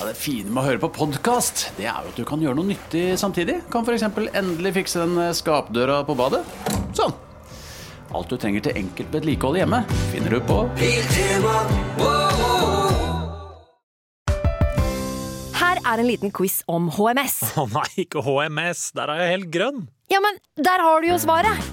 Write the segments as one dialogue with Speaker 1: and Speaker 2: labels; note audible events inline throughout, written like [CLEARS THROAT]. Speaker 1: Ja, det fine med å høre på podkast, det er jo at du kan gjøre noe nyttig samtidig. Kan f.eks. endelig fikse den eh, skapdøra på badet. Sånn. Alt du trenger til enkelt vedlikehold hjemme, finner du på
Speaker 2: Her er en liten quiz om HMS.
Speaker 3: [LAUGHS] Å nei, ikke HMS. Der er jeg helt grønn.
Speaker 2: Ja, men der har du jo svaret!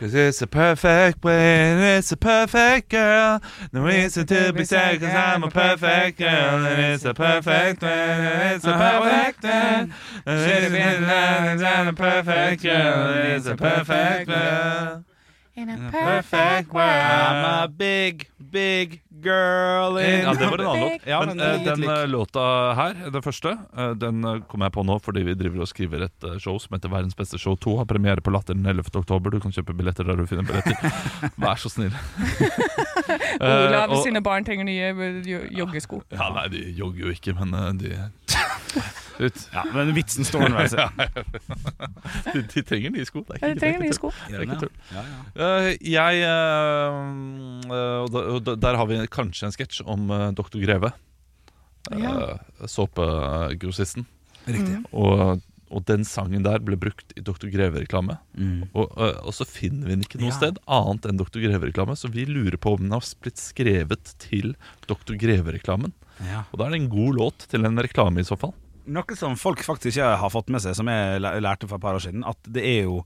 Speaker 4: Cause it's a perfect plan, it's a perfect girl. No reason to be sad, cause I'm a perfect girl. And it's a perfect plan, and it's a perfect plan. And it's uh, a perfect plan, and I'm a perfect girl. And it's a perfect plan. In a perfect world.
Speaker 5: I'm a big, big girl in
Speaker 4: Ja, det var en annen låt.
Speaker 5: Ja,
Speaker 4: Men
Speaker 5: men
Speaker 4: eh,
Speaker 5: litt
Speaker 4: den
Speaker 5: lik.
Speaker 4: eh, låta her, den første, eh, den eh, kom jeg på nå fordi vi driver og skriver et eh, show som heter Verdens beste show 2. Har premiere på Latter den 11. oktober. Du kan kjøpe billetter der du
Speaker 5: [LAUGHS]
Speaker 4: finner billetter. Vær så snill. Eh,
Speaker 6: Olav
Speaker 4: og-
Speaker 6: sine barn trenger nye eh, jo- joggesko.
Speaker 4: Ja, nei, de jogger jo ikke, men eh, de Ut.
Speaker 5: Ja, men vitsen står underveis.
Speaker 4: [LAUGHS] De, de trenger nye sko. Det er
Speaker 6: Ja,
Speaker 4: ikke, det
Speaker 6: de
Speaker 4: er
Speaker 6: trenger
Speaker 4: ikke
Speaker 6: nye
Speaker 4: tull.
Speaker 6: sko.
Speaker 4: Det er ikke tull. Eh, jeg eh, eh, og da- og da- Der har vi kanskje en sketsj om eh, Dr. Greve. eh,
Speaker 6: Ja.
Speaker 4: Såpegrossisten.
Speaker 5: Riktig.
Speaker 4: Og, og den sangen der ble brukt i Dr. Greve-reklame. Og, eh, og så finner vi den ikke noe
Speaker 5: Mm. Ja.
Speaker 4: sted annet enn Dr. Greve-reklame, så vi lurer på om den har blitt skrevet til Dr. Greve-reklamen.
Speaker 5: Ja.
Speaker 4: Og da er det en god låt til en reklame, i så fall.
Speaker 5: Noe som folk faktisk ikke har fått med seg, som jeg læ- lærte for et par år siden, at det er jo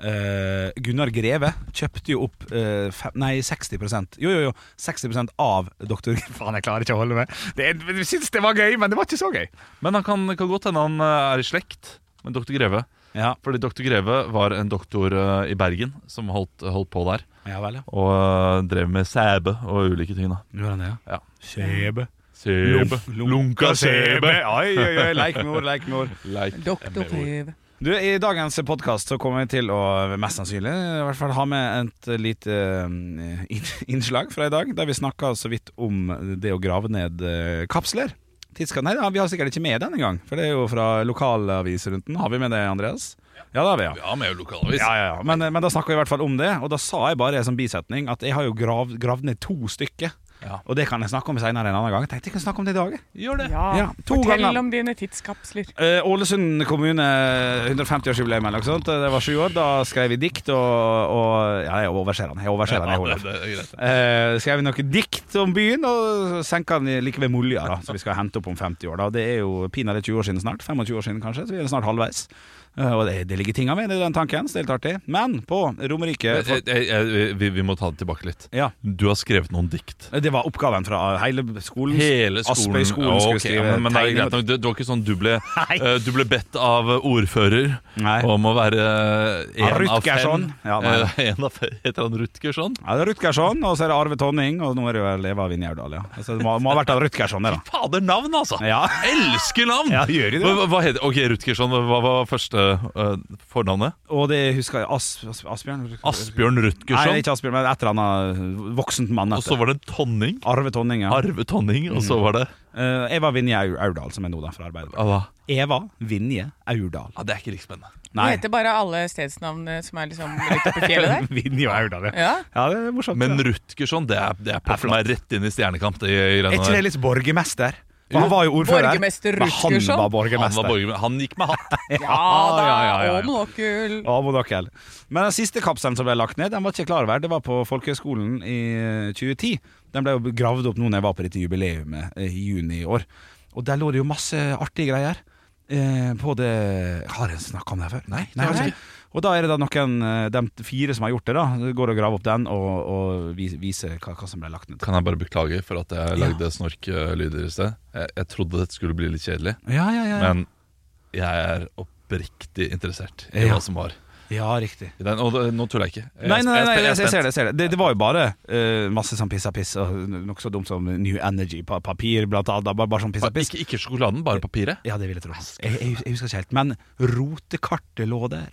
Speaker 5: eh, Gunnar Greve kjøpte jo opp eh, fem, Nei, 60 Jo, jo, jo. 60 av doktor [LAUGHS] Faen, jeg klarer ikke å holde meg. Det, jeg syns det var gøy, men det var ikke så gøy.
Speaker 4: Men han kan, kan godt hende han eh, er i slekt med Dr. Greve.
Speaker 5: Ja,
Speaker 4: Fordi Dr. Greve var en doktor eh, i Bergen som holdt, holdt på der.
Speaker 5: ja vel, ja.
Speaker 4: Og eh, drev med sæbe og ulike ting. da
Speaker 5: Gjorde han det,
Speaker 4: Ja.
Speaker 5: Sebe.
Speaker 4: Sæbe. Lunka sæbe.
Speaker 5: Oi, oi, oi. Leik med ord, leik med ord.
Speaker 4: Leik.
Speaker 6: Doktor Røv.
Speaker 5: Du, I dagens podkast kommer jeg til å mest sannsynlig i hvert fall ha med et lite eh, inn- [LAUGHS] innslag fra i dag, der vi snakka så vidt om det å grave ned eh, kapsler. Tidska, nei, da, vi har sikkert ikke med denne gang, for det er jo fra lokalaviser rundt den. Har vi med det, Andreas? Ja, det har vi, ja.
Speaker 4: Ja, med lokalavis.
Speaker 5: Ja, ja, ja. Men, eh, men da snakka vi i hvert fall om det, og da sa jeg bare som bisetning at jeg har jo gravd, gravd ned to stykker.
Speaker 4: Ja.
Speaker 5: Og det kan jeg snakke om senere en annen gang. Jeg tenkte jeg kunne snakke om det i dag. jeg.
Speaker 4: Gjør det.
Speaker 6: Ja,
Speaker 5: Ja, to
Speaker 6: fortell
Speaker 5: ganger.
Speaker 6: om dine tidskapsler.
Speaker 5: Eh, Ålesund kommune, 150-årsjubileum eller noe sånt. Det var sju år. Da skrev vi dikt og, og Ja, jeg overser den. Jeg overser den, jeg,
Speaker 4: Ja, det,
Speaker 5: Olav.
Speaker 4: det er greit.
Speaker 5: Eh, skrev vi noe dikt om byen, og senka den like ved Molja, da, som vi skal hente opp om 50 år. da Det er jo pinadø 20 år siden snart. 25 år siden, kanskje. Så vi er snart halvveis. Eh, og det, det ligger tinga ved det, den tanken. Så det er litt artig. Men på Romerike
Speaker 4: Eh, eh, eh, vi, vi må ta det tilbake litt.
Speaker 5: Ja.
Speaker 4: Du har skrevet noen dikt.
Speaker 5: Det var oppgaven fra hele skolen.
Speaker 4: Hele skolen.
Speaker 5: Aspøy-skolen
Speaker 4: Ja,
Speaker 5: skulle
Speaker 4: ok,
Speaker 5: skrive
Speaker 4: ja, men, men det er
Speaker 5: tegning-
Speaker 4: greit nok. Det, det var ikke sånn du [LAUGHS] ble,
Speaker 5: Nei.
Speaker 4: eh, du ble bedt av ordfører
Speaker 5: Nei.
Speaker 4: om å være én
Speaker 5: Ja,
Speaker 4: av fem.
Speaker 5: Rutgersson. Ja, nei.
Speaker 4: Eh, en av fem. Heter han Rutgersson?
Speaker 5: Ja, det er Rutgersson, og så er det Arve Tonning, og nå er det vel Eva Vinjaurdal, ja. Altså, det må, må ha vært av Rutgersson, det, da.
Speaker 4: Fader, navn, altså!
Speaker 5: Ja.
Speaker 4: Elsker navn!
Speaker 5: Ja, gjør de det?
Speaker 4: Hva, hva heter Ok, Rutgersson, hva- hva var første eh, fornavnet?
Speaker 5: Og det husker jeg As, As, Asbjørn?
Speaker 4: Asbjørn
Speaker 5: Nei,
Speaker 4: Rutgersson.
Speaker 5: ikke Asbjørn, men et eller annet voksent mann.
Speaker 4: Og så var det Tonning.
Speaker 5: Arve Tonning, ja.
Speaker 4: Arve Tonning, og så var det
Speaker 5: Eh, Eva Vinje Au- Aurdal, som er nå da fra Arbeiderpartiet.
Speaker 4: hva da?
Speaker 5: Eva Vinje Aurdal.
Speaker 4: Ja, det er ikke like spennende.
Speaker 6: Det heter bare alle stedsnavnene som er liksom litt oppi fjellet der.
Speaker 5: [LAUGHS] Vinje Aurdal, [LAUGHS] ja.
Speaker 6: Ja.
Speaker 5: Ja, det er morsomt.
Speaker 4: Men
Speaker 5: det.
Speaker 4: Rutgersson, det er, det er popper meg rett inn i Stjernekamp. Det, i
Speaker 5: er
Speaker 4: greiene
Speaker 5: ikke
Speaker 4: der.
Speaker 5: det litt borgermester? For han var jo ordfører.
Speaker 6: Borgermester
Speaker 5: Men
Speaker 6: Rutgersson?
Speaker 5: Han var
Speaker 4: han, var
Speaker 5: borgermester.
Speaker 4: borger, han gikk med
Speaker 5: [LAUGHS]
Speaker 4: hatt.
Speaker 6: ja da,
Speaker 5: ja, ja, ja, ja.
Speaker 6: og monokkel.
Speaker 5: Ja, må dere. Men den siste kapselen som ble lagt ned, den var ikke jeg klar over. Det var på Folkehøgskolen i 2010. Den ble jo gravd opp nå når jeg var på dette jubileumet eh, i juni i år. Og der lå det jo masse artige greier. Eh, på det Har jeg snakka om det her før? Nei.
Speaker 4: har
Speaker 5: jeg
Speaker 4: jeg
Speaker 5: vet ikke. Og da er det da noen, eh, de fire som har gjort det, da, går og graver opp den og, og vis- viser hva, hva som ble lagt ned.
Speaker 4: Kan jeg bare beklage for at jeg lagde snorklyder i sted? Jeg, jeg trodde dette skulle bli litt kjedelig,
Speaker 5: Ja, ja, ja.
Speaker 4: men jeg er oppriktig interessert i
Speaker 5: Ja.
Speaker 4: hva som var.
Speaker 5: Ja, riktig.
Speaker 4: Den, og det- nå tuller jeg ikke. Jeg er
Speaker 5: Nei, nei, nei,
Speaker 4: sp-
Speaker 5: jeg,
Speaker 4: jeg er
Speaker 5: jeg,
Speaker 4: spent.
Speaker 5: ser det. jeg ser Det Det, det var jo bare eh, masse sånn pissa piss, og noe så dumt som New Energy pa papir, blant annet. da, Bare, bare sånn pissa
Speaker 4: Bare-
Speaker 5: piss.
Speaker 4: Ikke, ikke sjokoladen, bare papiret.
Speaker 5: Ja, det vil jeg tro. Jeg, jeg, jeg husker ikke helt. Men rotekartet lå der.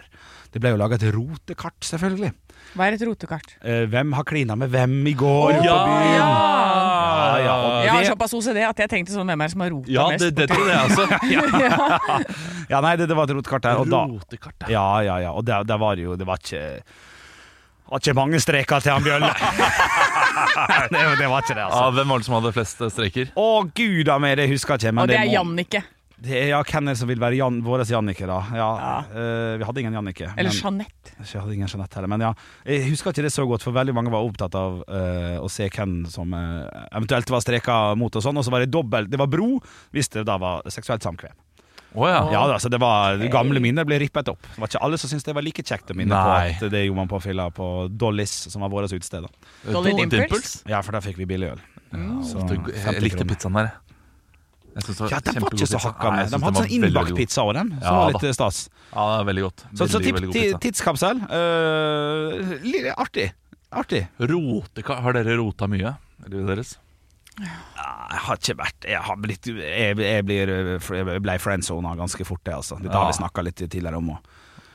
Speaker 5: Det ble jo laga et rotekart, selvfølgelig.
Speaker 6: Hva er et rotekart?
Speaker 5: Eh, hvem har klina med hvem i går på byen? Ja, ja, og
Speaker 6: Jeg har
Speaker 5: det-
Speaker 6: såpass OCD at jeg tenkte sånn hvem er det som har rota
Speaker 4: Ja,
Speaker 6: mest?
Speaker 4: det,
Speaker 6: [LAUGHS]
Speaker 4: det tror jeg også.
Speaker 5: ja, nei, det, det var et rotekart der. Og da,
Speaker 4: Rotekartet.
Speaker 5: ja, ja, ja. Og der, der var det jo Det var ikke var ikke mange streker til han Bjølle. [LAUGHS] det, det var ikke det, [LAUGHS] altså.
Speaker 4: Ja, hvem var det som hadde flest eh, streker?
Speaker 5: Å gud a meg, det husker jeg ikke. Men
Speaker 6: Og det er
Speaker 5: må-
Speaker 6: Jannicke.
Speaker 5: Det er, ja, hvem er det som vil være Jan, vår Jannicke, da? Ja, eh, vi hadde ingen Jannicke.
Speaker 6: Eller
Speaker 5: men-
Speaker 6: Jeanette.
Speaker 5: Jeg hadde ingen Jeanette heller, men ja. Jeg husker ikke det så godt, for veldig mange var opptatt av eh, å se hvem som eh, eventuelt var streka mot og sånn, og så var det dobbelt Det var bro hvis det da var seksuelt samkvem.
Speaker 4: Å ja.
Speaker 5: Ja da, så det var Gamle minner ble rippet opp. Det var ikke alle som syntes det var like kjekt å minne
Speaker 4: Nei.
Speaker 5: på at det gjorde man på fylla på Dollys, som var vårt utested. da.
Speaker 6: Dolly
Speaker 4: Dolly
Speaker 6: Dimples.
Speaker 5: Ja, for der fikk vi billig øl. Så,
Speaker 4: Jeg-
Speaker 5: 50
Speaker 4: Jeg likte
Speaker 5: kroner.
Speaker 4: pizzaen der. jeg. Jeg synes det
Speaker 5: Ja, den var
Speaker 4: kjempegod
Speaker 5: ikke så
Speaker 4: pizza.
Speaker 5: hakka
Speaker 4: Nei, jeg
Speaker 5: med. De
Speaker 4: synes den
Speaker 5: hadde sånn
Speaker 4: var veldig
Speaker 5: innbakt
Speaker 4: god.
Speaker 5: pizza over den, som
Speaker 4: Ja
Speaker 5: var
Speaker 4: da.
Speaker 5: litt eh, stas.
Speaker 4: Ja, det er veldig godt.
Speaker 5: Så, så
Speaker 4: Veldig,
Speaker 5: tipp,
Speaker 4: veldig god
Speaker 5: ti-
Speaker 4: pizza.
Speaker 5: tidskapsel. eh, li- artig. Artig.
Speaker 4: Roteka- har dere rota mye i livet deres?
Speaker 5: Jeg har ikke vært Jeg, har blitt, jeg, jeg, blir, øh, jeg ble friendzona ganske fort, det, altså. Dette
Speaker 4: Ja.
Speaker 5: har vi snakka litt tidligere om òg.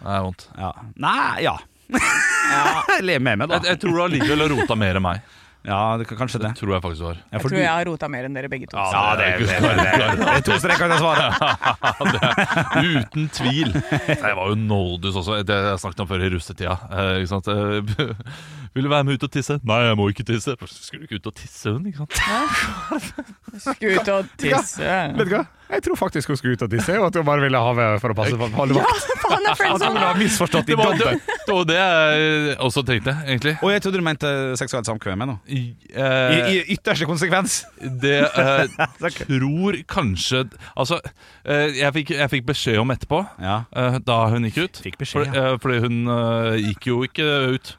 Speaker 4: Det er vondt.
Speaker 5: Ja. Nei, ja. [LAUGHS] Le med meg,
Speaker 4: Jeg,
Speaker 5: da.
Speaker 4: jeg tror du allikevel har rota mer enn meg.
Speaker 5: Ja, det, kan- kanskje det.
Speaker 4: Tror jeg faktisk du har.
Speaker 5: Ja,
Speaker 6: Jeg
Speaker 5: for
Speaker 6: tror
Speaker 5: du-
Speaker 6: jeg har rota mer enn dere begge to.
Speaker 5: ja, det, er- det, er- det, er- [LAUGHS] det er to streker til svaret. [LAUGHS]
Speaker 4: Uten tvil. Jeg var jo noldus også. Det jeg snakket om før i russetida. Eh, ikke sant? Eh, [LAUGHS] Vil du være med ut og tisse? Nei, jeg må ikke tisse. Skulle du ikke ut og tisse, hun? Ikke sant?
Speaker 6: Skulle ut og tisse.
Speaker 5: du hva? Jeg tror faktisk hun skulle ut og tisse, og at hun bare ville ha meg for å passe på. Holde vakt.
Speaker 6: Faen,
Speaker 5: At
Speaker 6: det er
Speaker 5: hun
Speaker 6: friendzone!
Speaker 5: har misforstått i
Speaker 4: Det var det,
Speaker 5: dobbelt.
Speaker 4: det var det jeg også tenkte, egentlig.
Speaker 5: Og jeg trodde du mente seksuelt samkvem med nå.
Speaker 4: I,
Speaker 5: I,
Speaker 4: eh,
Speaker 5: I ytterste konsekvens.
Speaker 4: det
Speaker 5: [LAUGHS]
Speaker 4: eh, tror kanskje Altså, eh, jeg fikk, jeg fikk beskjed om etterpå,
Speaker 5: Ja.
Speaker 4: eh, da hun gikk ut.
Speaker 5: Fikk beskjed,
Speaker 4: For, eh, fordi hun eh, gikk jo ikke ut.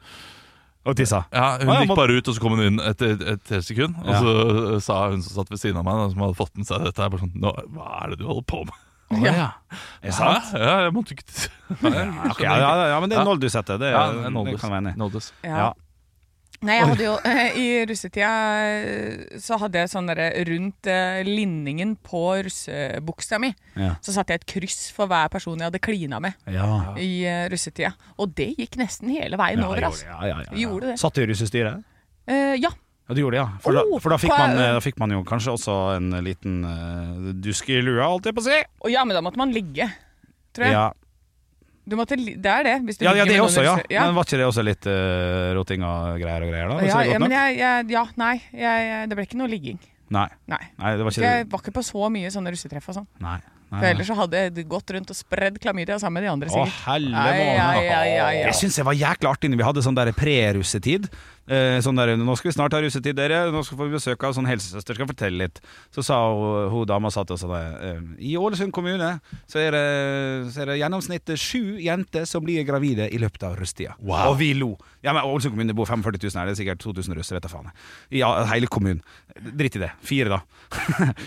Speaker 5: Og tissa.
Speaker 4: Ja, Hun
Speaker 5: Å, ja,
Speaker 4: gikk
Speaker 5: må-
Speaker 4: bare ut, og så kom hun inn etter et, et, helt sekund. Og
Speaker 5: Ja.
Speaker 4: så eh, sa hun som satt ved siden av meg, da, som hadde fått med seg dette her, bare sånn Nå, Hva er det du holder på med?
Speaker 5: Ja. Er det sant?
Speaker 4: Hæ? Ja, jeg måtte ikke
Speaker 5: Ja, ok, ja, ja, ja, men det er noll du setter. Det,
Speaker 4: Ja,
Speaker 5: er-
Speaker 4: en
Speaker 5: det
Speaker 4: oldus.
Speaker 5: kan jeg være enig i.
Speaker 4: Noldus.
Speaker 6: Ja. Nei, jeg hadde jo I russetida eh, så hadde jeg sånn derre rundt eh, linningen på russebuksa mi.
Speaker 5: Ja.
Speaker 6: Så satte jeg et kryss for hver person jeg hadde klina med
Speaker 5: Ja.
Speaker 6: i eh, russetida. Og det gikk nesten hele veien
Speaker 5: Ja,
Speaker 6: over,
Speaker 5: gjorde-
Speaker 6: altså.
Speaker 5: Ja, ja, ja, ja.
Speaker 6: Gjorde det.
Speaker 5: Satt du i russestyret?
Speaker 6: Eh, ja.
Speaker 5: Ja, du gjorde det, ja. For, da,
Speaker 6: Oh,
Speaker 5: for da, fikk
Speaker 6: hva-
Speaker 5: man, eh, da fikk man jo kanskje også en liten eh, dusk i lua, holdt jeg på å si.
Speaker 6: Og ja, men da måtte man ligge, tror jeg.
Speaker 5: Ja,
Speaker 6: Du måtte, li- det er det. Hvis du
Speaker 5: ja, ja
Speaker 6: ligger
Speaker 5: det
Speaker 6: med noen
Speaker 5: også, ja.
Speaker 6: russe-
Speaker 5: Men var ikke det også litt eh, roting og greier og greier, da? Var
Speaker 6: Ja,
Speaker 5: ikke det
Speaker 6: ja,
Speaker 5: godt
Speaker 6: men
Speaker 5: nok?
Speaker 6: jeg, jeg, ja, nei. Jeg, jeg, det ble ikke noe ligging.
Speaker 5: Nei.
Speaker 6: Nei.
Speaker 5: Nei, det var ikke
Speaker 6: Jeg var ikke på så mye sånne russetreff og sånn.
Speaker 5: Nei. nei,
Speaker 6: For
Speaker 5: nei.
Speaker 6: ellers så hadde jeg gått rundt og spredd klamydia sammen med de andre,
Speaker 5: Å,
Speaker 6: sikkert.
Speaker 5: helle
Speaker 6: Ai,
Speaker 5: måne.
Speaker 6: ai, ai, ai, ai.
Speaker 5: Det syns jeg var jækla artig når vi hadde sånn der pre-russetid. Eh, sånn der, 'Nå skal vi snart ha russetid, dere. Nå skal vi få besøk av sånn helsesøster, skal fortelle litt.' Så sa hun, hun dama satt og sa det. eh, I Ålesund kommune så er det, så er det gjennomsnittet sju jenter som blir gravide i løpet av russetida. Og vi lo. Ja, men Ålesund kommune det bor 45 000 her, det er sikkert 2000 russere, vet da faen. jeg. Ja, hele kommunen. Dritt i det. Fire, da.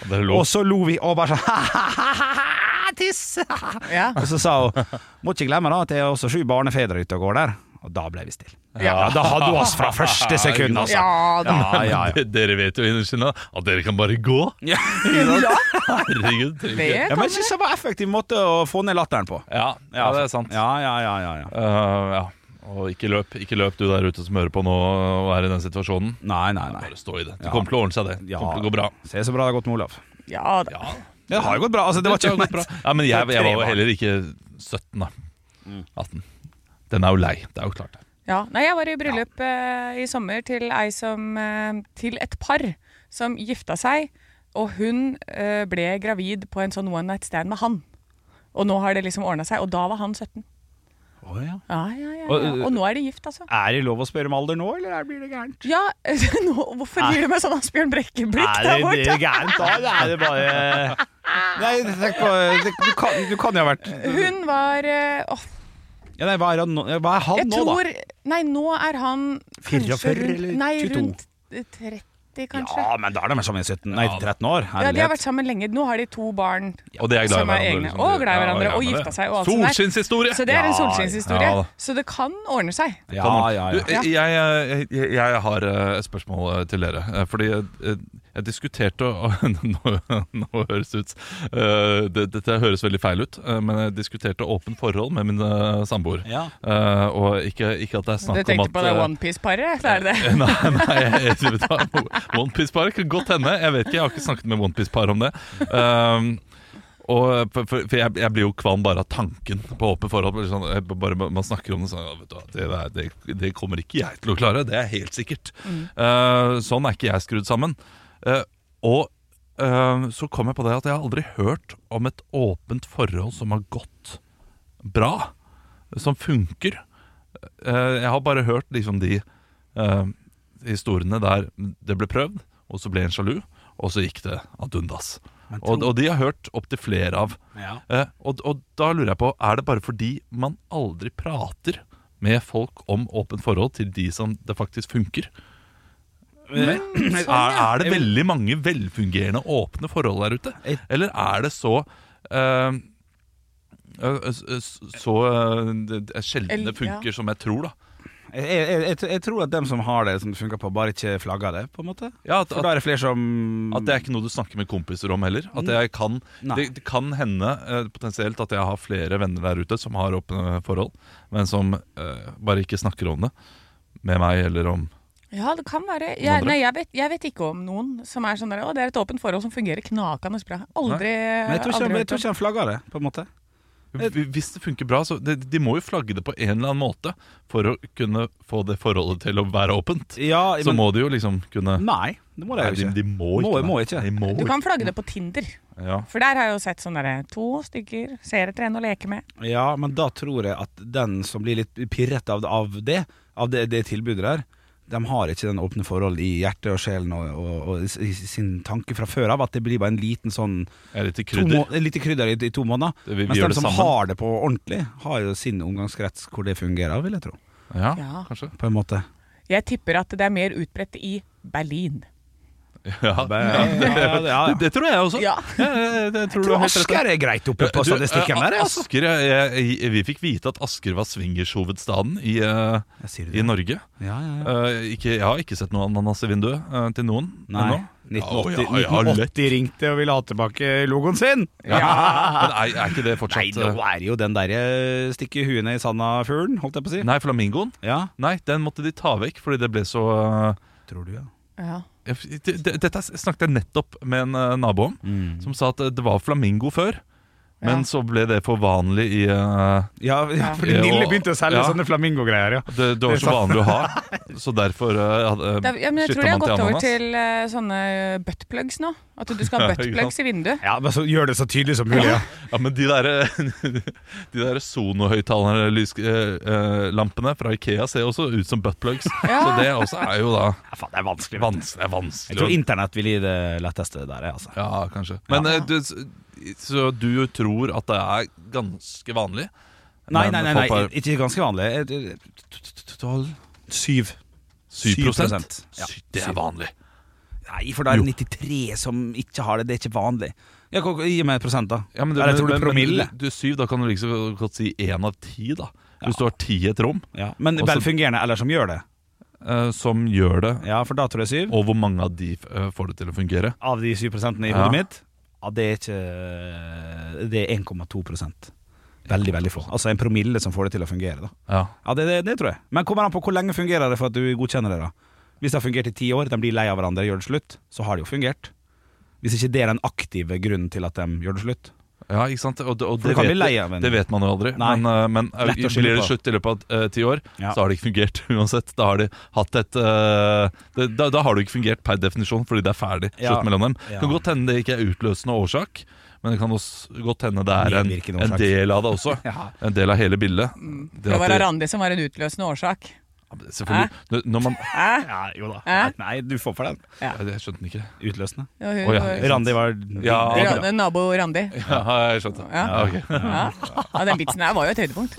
Speaker 4: Dere
Speaker 5: [LAUGHS]
Speaker 4: lo.
Speaker 5: Og så lo vi og bare sånn [LAUGHS] «Ha-ha-ha-ha, Tiss! [LAUGHS]
Speaker 6: Ja.
Speaker 5: Og så sa hun Må ikke glemme da at det er også sju barnefedre ute og går der. Og da ble vi stille. Ja. da hadde hun oss fra første sekund, altså.
Speaker 6: Ja, da.
Speaker 5: ja,
Speaker 4: [LAUGHS]
Speaker 5: ja, ja.
Speaker 4: Dere vet jo innerst inne at dere kan bare gå. [LAUGHS]
Speaker 5: [LAUGHS] Ja.
Speaker 4: Herregud. trenger
Speaker 6: Det
Speaker 4: ikke-
Speaker 5: Ja, men jeg syns det var en effektiv måte å få ned latteren på.
Speaker 4: Ja, ja, det er sant.
Speaker 5: Ja, ja, ja, ja, ja.
Speaker 4: Eh, ja. Og ikke løp, ikke løp du der ute som hører på nå og er i den situasjonen.
Speaker 5: Nei, nei, nei.
Speaker 4: Bare stå i det. Det
Speaker 5: Ja.
Speaker 4: kommer til å ordne seg, det. Det
Speaker 5: Ja.
Speaker 4: kommer til å gå bra.
Speaker 5: Se så bra det har gått med Olav.
Speaker 6: Ja, da.
Speaker 4: Ja,
Speaker 5: Det har jo gått bra. Altså, det var
Speaker 4: Dette
Speaker 5: ikke
Speaker 4: har gått bra. Ja, men jeg, jeg var jo heller ikke 17, da.
Speaker 5: Mm.
Speaker 4: 18. Den er jo lei. Det er jo klart. det.
Speaker 6: Ja. Nei, jeg var i bryllup eh, i sommer til ei som eh, Til et par som gifta seg, og hun eh, ble gravid på en sånn one night stand med han. Og nå har det liksom ordna seg, og da var han 17.
Speaker 5: Å, ja.
Speaker 6: Ja, ja, ja, ja.
Speaker 5: Og-
Speaker 6: Og nå er de gift, altså.
Speaker 5: Er det lov å spørre om alder nå, eller er- blir det gærent?
Speaker 6: Ja, [LAUGHS] nå, hvorfor gir du meg sånn Asbjørn Brekke-blikk
Speaker 5: Er
Speaker 6: der
Speaker 5: det blir det
Speaker 6: borte?
Speaker 5: gærent da, eller er det bare Nei, tenk på det, du, kan, du kan jo ha vært
Speaker 6: Hun var eh, åh,
Speaker 5: ja, nei, hva, er han nå, hva er han
Speaker 6: Jeg
Speaker 5: nå, da?
Speaker 6: tror Nei, nå er han kanskje
Speaker 5: 44
Speaker 6: rundt-
Speaker 5: eller
Speaker 6: Nei,
Speaker 5: 22?
Speaker 6: rundt eh, 30 30, kanskje.
Speaker 5: Ja, men da er de sammen i 17, nei, 13 år.
Speaker 6: Ja, De har
Speaker 5: Herlighet.
Speaker 6: vært sammen lenge. Nå har de to barn
Speaker 4: Og de er glad i
Speaker 6: som er
Speaker 4: hverandre,
Speaker 6: egne.
Speaker 4: liksom.
Speaker 6: Og glad i
Speaker 4: Ja,
Speaker 6: hverandre.
Speaker 4: ja,
Speaker 6: og
Speaker 4: ja.
Speaker 6: gifta seg. Og alt sånt der.
Speaker 4: Solskinnshistorie!
Speaker 6: Så det er en
Speaker 5: Ja,
Speaker 6: solskinnshistorie.
Speaker 4: ja.
Speaker 6: Så det kan ordne seg.
Speaker 5: Ja, ja,
Speaker 4: Kommer.
Speaker 5: ja.
Speaker 4: Du, eh, jeg, eh, jeg, jeg har eh, et spørsmål eh, til dere. eh, Fordi eh, jeg diskuterte og- [LAUGHS] Nå, nå høres det ut eh, det, Dette høres veldig feil ut, eh, men jeg diskuterte åpent forhold med min eh, samboer.
Speaker 5: Ja.
Speaker 4: Eh, og ikke, ikke at det er
Speaker 6: Du
Speaker 4: snakk om
Speaker 6: tenkte
Speaker 4: at
Speaker 6: på det
Speaker 4: eh,
Speaker 6: Onepiece-paret? Det er
Speaker 4: [LAUGHS]
Speaker 6: det.
Speaker 4: Nei, nei jeg, jeg, Onepiece-paret kan godt hende. Jeg vet ikke, jeg har ikke snakket med Onepiece-paret om det. Um, og for, for, for jeg, jeg blir jo kvalm bare av tanken på åpent forhold. Bare Sånn, jeg, bare, man snakker om det sånn ja, vet du, hva, det, der- det, det kommer ikke jeg til å klare, det er helt sikkert. Uh, sånn er ikke jeg skrudd sammen. Uh, og uh, så kom jeg på det at jeg har aldri hørt om et åpent forhold som har gått bra, som funker. Eh, jeg har bare hørt liksom de eh, historiene der det ble prøvd, og så ble en sjalu, og så gikk det ad undas. Og, og de har hørt opptil flere av.
Speaker 5: Ja.
Speaker 4: Eh, og, og da lurer jeg på, er det bare fordi man aldri prater med folk om åpent forhold til de som det faktisk funker? [CLEARS THROAT]
Speaker 5: sånn,
Speaker 4: Er, er det veldig mange velfungerende åpne forhold der ute?
Speaker 5: Jeg-
Speaker 4: Eller er det så eh, eh, s- s- så eh, det- det- sjelden det
Speaker 6: El- ja.
Speaker 4: funker som jeg tror, da.
Speaker 5: Jeg, jeg, jeg, jeg tror at dem som har det som det funker på, bare ikke flagger det, på en måte.
Speaker 4: Ja, at,
Speaker 5: For da
Speaker 4: at,
Speaker 5: er det flere som
Speaker 4: at det er ikke noe du snakker med kompiser om heller. At jeg kan,
Speaker 5: Nei.
Speaker 4: det, det kan hende eh, potensielt at jeg har flere venner der ute som har åpne forhold, men som eh, bare ikke snakker om det med meg eller om
Speaker 6: Ja, det kan være.
Speaker 4: Noen
Speaker 6: Jeg,
Speaker 4: andre?
Speaker 6: nei, jeg, vet, jeg vet ikke om noen som er sånn der Å, det er et åpent forhold som fungerer knakende bra. Aldri
Speaker 5: Men jeg tror ikke,
Speaker 6: aldri
Speaker 5: han- jeg tror
Speaker 6: hørt om.
Speaker 5: ikke han flagger det, på en måte.
Speaker 4: Hvis det funker bra, så de, de må jo flagge det på en eller annen måte for å kunne få det forholdet til å være åpent.
Speaker 5: Ja,
Speaker 4: Så
Speaker 5: men-
Speaker 4: må de jo liksom kunne
Speaker 5: Nei, det må det
Speaker 4: Nei,
Speaker 5: jo
Speaker 4: de,
Speaker 5: ikke.
Speaker 4: de må ikke.
Speaker 5: Må-
Speaker 4: nei.
Speaker 5: må ikke.
Speaker 4: De må
Speaker 6: Du
Speaker 4: ikke.
Speaker 6: kan flagge det på Tinder.
Speaker 4: Ja.
Speaker 6: For der har jeg jo sett sånn derre to stykker ser etter en å leke med.
Speaker 5: Ja, men da tror jeg at den som blir litt pirret av, av det, av det, det tilbudet der, de har ikke den åpne forhold i hjertet og sjelen og, og, og i i sin tanke fra før av, at det blir bare en liten sånn
Speaker 4: Er det til
Speaker 5: to må,
Speaker 4: krydder?
Speaker 5: Litt krydder i, i to måneder.
Speaker 4: Det- vi- vi
Speaker 5: Mens de
Speaker 4: gjør det
Speaker 5: som
Speaker 4: sammen.
Speaker 5: har det på ordentlig, har jo sin omgangskrets hvor det fungerer, vil jeg tro.
Speaker 4: Ja,
Speaker 6: Ja.
Speaker 4: kanskje.
Speaker 5: På en måte.
Speaker 6: Jeg tipper at det er mer utbredt i Berlin.
Speaker 5: Ja,
Speaker 4: Ja.
Speaker 5: ja, ja.
Speaker 4: Det, det tror jeg også.
Speaker 6: Ja.
Speaker 4: Ja, det, det tror
Speaker 5: Jeg
Speaker 4: du
Speaker 5: tror
Speaker 4: har helt rett i.
Speaker 5: Asker er greit oppe på
Speaker 4: Du,
Speaker 5: statistikken
Speaker 4: eh,
Speaker 5: der, altså.
Speaker 4: Asker, jeg, jeg, jeg, vi fikk vite at Asker var swingershovedstaden i, eh,
Speaker 5: Jeg sier
Speaker 4: i
Speaker 5: det.
Speaker 4: Norge.
Speaker 5: Ja, ja, ja.
Speaker 4: Eh, ikke, jeg har ikke sett noe ananas i vinduet eh, til noen
Speaker 5: Nei.
Speaker 4: ennå.
Speaker 5: 1980,
Speaker 4: Ja, ja, ja, lett.
Speaker 5: 1980 ringte og ville ha tilbake logoen sin!
Speaker 4: Men er, er ikke
Speaker 5: [LAUGHS]
Speaker 4: det
Speaker 5: Nei,
Speaker 4: fortsatt
Speaker 5: nå er det jo den derre stikke huet ned i sanda-fuglen, holdt jeg på å si.
Speaker 4: eh, Nei, flamingoen?
Speaker 5: Ja,
Speaker 4: Nei, den måtte de ta vekk fordi det ble så eh,
Speaker 5: tror du, ja.
Speaker 6: Ja.
Speaker 4: jeg- det- det- Dette snakket jeg nettopp med en eh, nabo om,
Speaker 5: Mm.
Speaker 4: som sa at eh, det var flamingo før. Men
Speaker 6: Ja.
Speaker 4: så ble det for vanlig i eh,
Speaker 5: Ja, ja for
Speaker 4: Ja,
Speaker 5: Nille
Speaker 4: og-
Speaker 5: begynte å selge
Speaker 4: ja.
Speaker 5: sånne flamingogreier, ja.
Speaker 4: det, det var så vanlig å
Speaker 6: [LAUGHS]
Speaker 4: ha, så derfor uh,
Speaker 6: Det er, ja, men jeg tror det har gått over til eh, sånne buttplugs nå. At du skal
Speaker 4: [LAUGHS]
Speaker 6: ha
Speaker 4: Ja, ikke
Speaker 6: buttplugs i vinduet.
Speaker 5: Ja, men så Gjør det så tydelig som mulig, ja.
Speaker 4: Ja, men de der, eh, [LAUGHS] de der Sono-høyttalerlampene eh, fra Ikea ser jo også ut som
Speaker 6: [LAUGHS]
Speaker 4: buttplugs. Så det også er jo da
Speaker 5: ja faen, det er vanskelig. vet du.
Speaker 4: vanskelig. vanskelig.
Speaker 5: Jeg tror internett vil gi det letteste der, jeg, altså.
Speaker 4: ja, kanskje. Men eh, du, så du tror at det er ganske vanlig?
Speaker 5: Nei,
Speaker 4: Men
Speaker 5: nei, nei,
Speaker 4: folk
Speaker 5: nei
Speaker 4: har
Speaker 5: ikke ganske vanlig. Eh, t- t- t- Tolv Syv.
Speaker 4: 7
Speaker 5: 7%. Ja.
Speaker 4: Sy- Det er vanlig.
Speaker 5: Nei, for da er det 93 som ikke har det. Det er ikke vanlig. Ja, hva- Gi meg et prosent, da.
Speaker 4: Ja, men
Speaker 5: Eller tror du
Speaker 4: men- men
Speaker 5: promille?
Speaker 4: Du, du, syv, da kan du like så godt si én av ti, da. Hvis du har ti i et rom
Speaker 5: Ja. Men
Speaker 4: Også-
Speaker 5: velfungerende, eller som gjør det.
Speaker 4: eh, som gjør det,
Speaker 5: Ja, for da tror jeg syv.
Speaker 4: og hvor mange av de eh, får det til å fungere
Speaker 5: Av de syv prosentene i
Speaker 4: Ja.
Speaker 5: hodet mitt, ja, det er ikke Det er 1,2 prosent. Veldig, veldig få. Altså en promille som får det til å fungere, da.
Speaker 4: Ja
Speaker 5: Ja, det, det, det tror jeg. Men kommer an på hvor lenge fungerer det for at du godkjenner det, da. Hvis det har fungert i ti år, de blir lei av hverandre, gjør det slutt, så har det jo fungert. Hvis ikke det er den aktive grunnen til at de gjør det slutt.
Speaker 4: Ja, ikke sant? Og, det- og
Speaker 5: For
Speaker 4: det,
Speaker 5: du kan
Speaker 4: vet,
Speaker 5: bli lei av en-
Speaker 4: det vet man jo aldri.
Speaker 5: Nei.
Speaker 4: Men, uh, men uh,
Speaker 5: Lett å skylde
Speaker 4: blir det
Speaker 5: på.
Speaker 4: slutt i løpet av uh, ti år,
Speaker 5: Ja.
Speaker 4: så har det ikke fungert [LAUGHS] uansett. Da har, de hatt et, uh, det, da, da har det ikke fungert per definisjon, fordi det er ferdig
Speaker 5: Ja.
Speaker 4: slutt mellom dem.
Speaker 5: Ja.
Speaker 4: Det kan godt hende det ikke er utløsende årsak, men det kan også godt hende det er en,
Speaker 5: Medvirkende
Speaker 4: en
Speaker 5: årsak.
Speaker 4: del av det også.
Speaker 5: [LAUGHS] Ja. Mm.
Speaker 4: En del av hele bildet.
Speaker 6: Det var
Speaker 4: at de-
Speaker 6: Randi som var en utløsende årsak.
Speaker 4: Selvfølgelig. Når- Når man
Speaker 5: Ja, jo da.
Speaker 6: Hæ?
Speaker 5: Nei, du får for den.
Speaker 4: Ja, Jeg skjønte den ikke.
Speaker 5: Utløsende.
Speaker 6: Og hun,
Speaker 4: Å, ja.
Speaker 6: var-
Speaker 5: Randi var
Speaker 4: Ja.
Speaker 5: Det er
Speaker 6: Ra-
Speaker 5: bra.
Speaker 6: Nabo Randi.
Speaker 4: [LAUGHS] Ja, jeg skjønte.
Speaker 6: Ja.
Speaker 4: Ja, ok.
Speaker 6: Ja. ja, den vitsen her var jo et høydepunkt.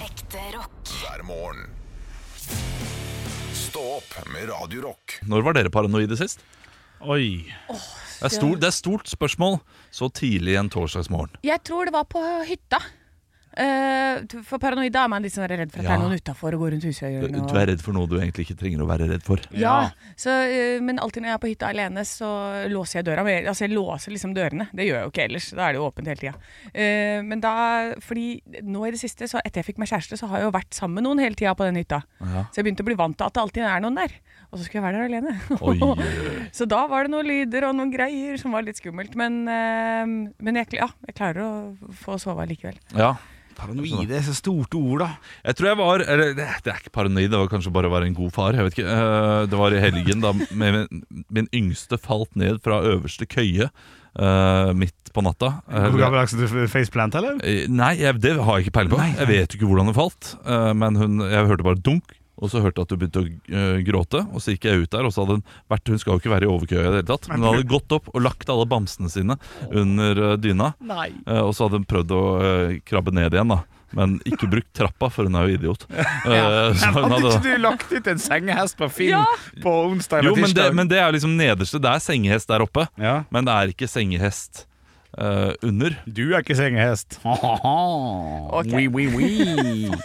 Speaker 7: hver morgen. Stå opp med Radio Rock.
Speaker 4: Når var dere paranoide sist?
Speaker 5: Oi.
Speaker 6: er
Speaker 4: er,
Speaker 6: stor-
Speaker 4: stort, spørsmål så tidlig en torsdagsmorgen.
Speaker 6: Jeg tror det var på hytta. Eh, for paranoid da er man litt sånn redd for at det
Speaker 4: Ja.
Speaker 6: er noen utafor og går rundt
Speaker 4: Du,
Speaker 6: husøyene.
Speaker 4: du er redd for noe du egentlig ikke trenger å være redd for.
Speaker 6: Ja, så, eh, men alltid når jeg er på hytta alene, så låser jeg døra. Men jeg- Altså, jeg låser liksom dørene. Det gjør jeg jo ikke ellers. Da er det jo åpent hele tida. Eh, men da Fordi nå i det siste, så etter jeg fikk meg kjæreste, så har jeg jo vært sammen med noen hele tida på den hytta. Så jeg begynte å bli vant til at det alltid er noen der. Og så skulle jeg være der alene. [LAUGHS]
Speaker 4: Oi, oi, oi.
Speaker 6: så da var det noen lyder og noen greier som var litt skummelt. Men, eh, men jeg, kl- ja, jeg klarer å få sove likevel.
Speaker 4: Ja.
Speaker 5: Paranoide er så stort ord, da.
Speaker 4: Jeg tror jeg var eller, Det det er ikke paranoid, det var kanskje bare å være en god far. Jeg vet ikke. Eh, Det var i helgen da min, min yngste falt ned fra øverste køye eh, midt på natta.
Speaker 5: Hvor
Speaker 4: Eh,
Speaker 5: gammeldags er du? Faceplant, eller?
Speaker 4: Eh, Nei, jeg, det har jeg ikke peiling på. Jeg vet jo ikke hvordan det falt. eh, men hun, jeg hørte bare dunk, og så hørte jeg at hun begynte å eh, gråte. Og så gikk jeg ut der, og så hadde hun vært Hun skal jo ikke være i overkøya i det hele tatt. Men hun hadde gått opp og lagt alle bamsene sine under eh, dyna. eh, og så hadde hun prøvd å eh, krabbe ned igjen, da. Men ikke brukt trappa, for hun er jo [LAUGHS] idiot. Eh, så hun
Speaker 5: Hadde
Speaker 4: hadde- [LAUGHS]
Speaker 5: ikke du lagt ut en sengehest på Finn
Speaker 6: Ja.
Speaker 5: på onsdag eller
Speaker 4: jo, men det,
Speaker 5: tirsdag?
Speaker 4: men det er liksom nederste. Det er sengehest der oppe,
Speaker 5: Ja.
Speaker 4: men det er ikke sengehest eh, under.
Speaker 5: Du er ikke [LAUGHS] sengehest.
Speaker 6: Ok.
Speaker 5: Oui, oui, oui.
Speaker 4: Hva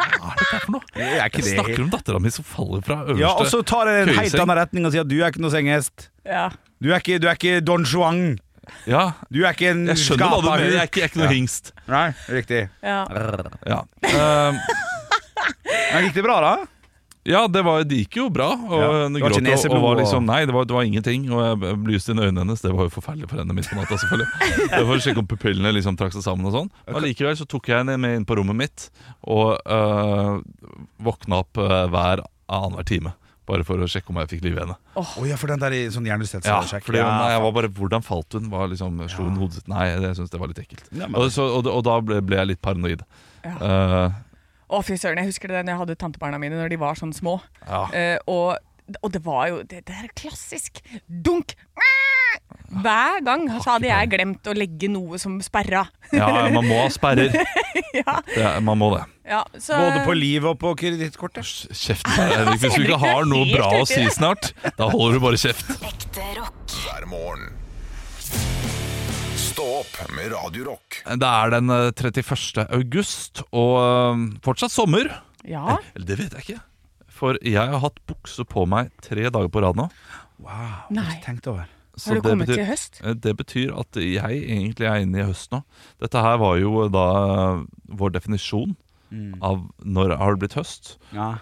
Speaker 4: er dette for noe?
Speaker 5: Det er ikke
Speaker 4: Jeg
Speaker 5: det
Speaker 4: snakker om dattera mi som faller fra øverste
Speaker 5: Ja, og så tar det en helt
Speaker 4: køyeseng.
Speaker 5: annen retning og sier at du er ikke noe sengehest.
Speaker 6: Ja.
Speaker 5: Du er ikke, du er ikke Don Juan.
Speaker 4: Ja,
Speaker 5: Du er ikke en
Speaker 4: jeg skjønner hva du
Speaker 5: skapahuk.
Speaker 4: mener. Jeg er ikke, jeg er ikke noe
Speaker 5: Ja.
Speaker 4: hingst.
Speaker 5: Nei, riktig.
Speaker 6: ja.
Speaker 4: Ja. Ehm,
Speaker 5: Men gikk det bra, da?
Speaker 4: ja, det, var, det gikk jo bra. Og
Speaker 5: Ja.
Speaker 4: hun
Speaker 5: Det var ikke
Speaker 4: gråt og, og
Speaker 5: neseblod,
Speaker 4: var
Speaker 5: og-
Speaker 4: liksom Nei, det var, det var ingenting. Og jeg belyste inn øynene hennes. Det var jo forferdelig for henne midt på natta, [LAUGHS] selvfølgelig. Det var For å sjekke om pupillene liksom trakk seg sammen og sånn. Men likevel så tok jeg henne med inn på rommet mitt og øh, våkna opp øh, hver annenhver time. Bare for å sjekke om jeg fikk liv i henne.
Speaker 5: Å ja, for den der i sånn hjernerystelse.
Speaker 4: Altså, Ja,
Speaker 5: sjekk.
Speaker 4: fordi
Speaker 5: Ja.
Speaker 4: nei, jeg var bare, Hvordan falt hun? Var liksom, slo hun hodet sitt? Nei, jeg syns det var litt ekkelt.
Speaker 5: Ja, men-
Speaker 4: og, så, og, og da ble, ble jeg litt paranoid. Eh,
Speaker 6: Å, fy søren, jeg husker det da jeg hadde tantebarna mine når de var sånn små.
Speaker 4: Ja.
Speaker 6: Eh, og, og det var jo Det, det er klassisk. Dunk! Hver gang så hadde jeg glemt å legge noe som sperra. [LAUGHS]
Speaker 4: Ja, man må ha sperrer. det, er- man må det.
Speaker 6: Ja, så,
Speaker 5: Både på livet og på kredittkortet.
Speaker 6: [LAUGHS]
Speaker 4: Kjeft på deg, Henrik. Hvis du ikke har noe bra å si snart, da holder du bare kjeft.
Speaker 7: Ekte rock. Hver morgen. Stå opp med Radio Rock.
Speaker 4: Det er den eh, 31. august, og eh, fortsatt sommer.
Speaker 6: ja,
Speaker 4: Eller det vet jeg ikke. For jeg har hatt bukse på meg tre dager på rad nå.
Speaker 6: nei.
Speaker 5: Tenkt over.
Speaker 4: Så
Speaker 6: Har du
Speaker 4: det
Speaker 6: kommet
Speaker 4: betyr-
Speaker 6: til høst?
Speaker 4: Eh, Det betyr at jeg egentlig er inne i høst nå. Dette her var jo da eh, vår definisjon
Speaker 6: Mm.
Speaker 4: av når har det blitt høst.
Speaker 5: Ja.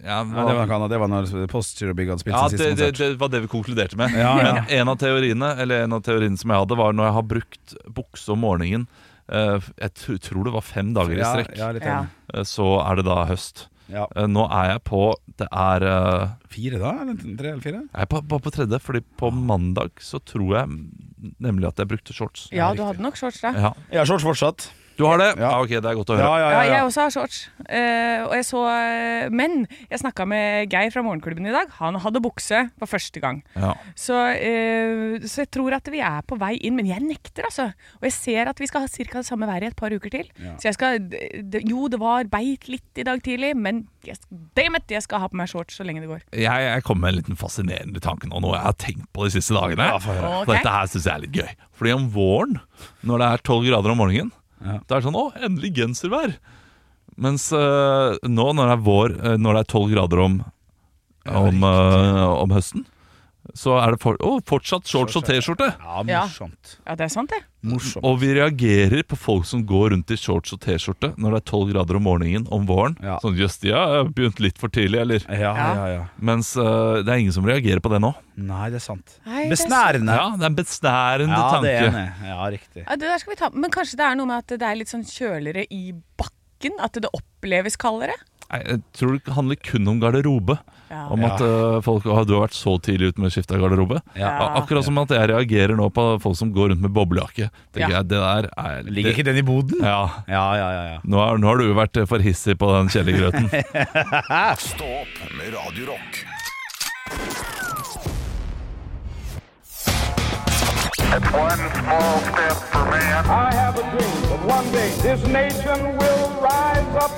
Speaker 4: Ja,
Speaker 5: Ja, det var noe annet. Det var når Postgiro Big hadde spilt
Speaker 4: Ja,
Speaker 5: sin
Speaker 4: det,
Speaker 5: siste
Speaker 4: det,
Speaker 5: konsert.
Speaker 4: det var det vi konkluderte med.
Speaker 5: Ja, ja.
Speaker 4: Men en av teoriene Eller en av teoriene som jeg hadde, var når jeg har brukt bukse om morgenen eh, Jeg t- tror det var fem dager i
Speaker 5: ja,
Speaker 4: strekk,
Speaker 5: ja, litt
Speaker 6: Ja.
Speaker 5: enig.
Speaker 4: eh, så er det da høst.
Speaker 5: Ja.
Speaker 4: Eh, Nå er jeg på Det er eh,
Speaker 5: Fire, da? Eller tre eller fire?
Speaker 4: Jeg er på, bare på tredje, fordi på mandag så tror jeg nemlig at jeg brukte shorts.
Speaker 6: Ja, du hadde nok shorts da.
Speaker 4: Ja.
Speaker 5: Jeg har shorts fortsatt.
Speaker 4: Du har det?
Speaker 5: Ja.
Speaker 4: Ja, ok, det er godt å høre.
Speaker 5: Ja, ja,
Speaker 6: Ja,
Speaker 5: ja, ja.
Speaker 6: jeg også har shorts. Eh, og jeg så, men jeg snakka med Geir fra Morgenklubben i dag. Han hadde bukse for første gang.
Speaker 4: Ja.
Speaker 6: Så, eh, så jeg tror at vi er på vei inn, men jeg nekter, altså. Og jeg ser at vi skal ha ca. det samme været i et par uker til. Så jeg skal d- d- Jo, det var beit litt i dag tidlig, men jeg, damn it, jeg skal ha på meg shorts så lenge det går.
Speaker 4: jeg, jeg kom med en liten fascinerende tanke nå, noe jeg har tenkt på de siste dagene.
Speaker 6: høre.
Speaker 4: For Dette her syns jeg er litt gøy. Fordi om våren, når det er 12 grader om morgenen, da er det sånn Å, endelig genservær. Mens øh, nå når det er vår, øh, når det er 12 grader om, om, øh, om høsten, så er det for, å, fortsatt shorts og T-skjorte.
Speaker 6: Ja.
Speaker 5: morsomt.
Speaker 6: Ja, det er sant, det.
Speaker 5: Morsomt.
Speaker 4: Og vi reagerer på folk som går rundt i shorts og T-skjorte når det er 12 grader om morgenen om våren.
Speaker 5: Ja.
Speaker 4: Sånn jøss, de har begynt litt for tidlig, eller?
Speaker 5: Ja, ja, ja.
Speaker 4: Mens øh, det er ingen som reagerer på det nå.
Speaker 5: Nei, det er sant.
Speaker 6: Nei, det er
Speaker 5: Besnærende.
Speaker 4: Ja, det er en besnærende
Speaker 5: Ja, det
Speaker 4: tanke.
Speaker 5: er enig. Ja, riktig.
Speaker 6: Ja, det der skal vi ta. Men kanskje det er noe med at det er litt sånn kjøligere i bakken? At det oppleves kaldere?
Speaker 4: Nei, Jeg tror det handler kun om garderobe.
Speaker 6: Ja.
Speaker 4: Om at øh, folk «Å, Du har vært så tidlig ute med å skifte av garderobe.
Speaker 6: Ja.
Speaker 4: A- Akkurat som at jeg reagerer nå på folk som går rundt med boblejakke. Tenker
Speaker 6: Ja.
Speaker 4: jeg, det der er
Speaker 5: Ligger ikke den i boden?
Speaker 4: Ja.
Speaker 5: Ja, ja, ja. ja.
Speaker 4: Nå, er, nå har du vært eh, for hissig på den kjellergrøten.
Speaker 5: [LAUGHS]
Speaker 7: Stå opp med Radio Rock.
Speaker 8: I have a dream that one day this nation will rise up.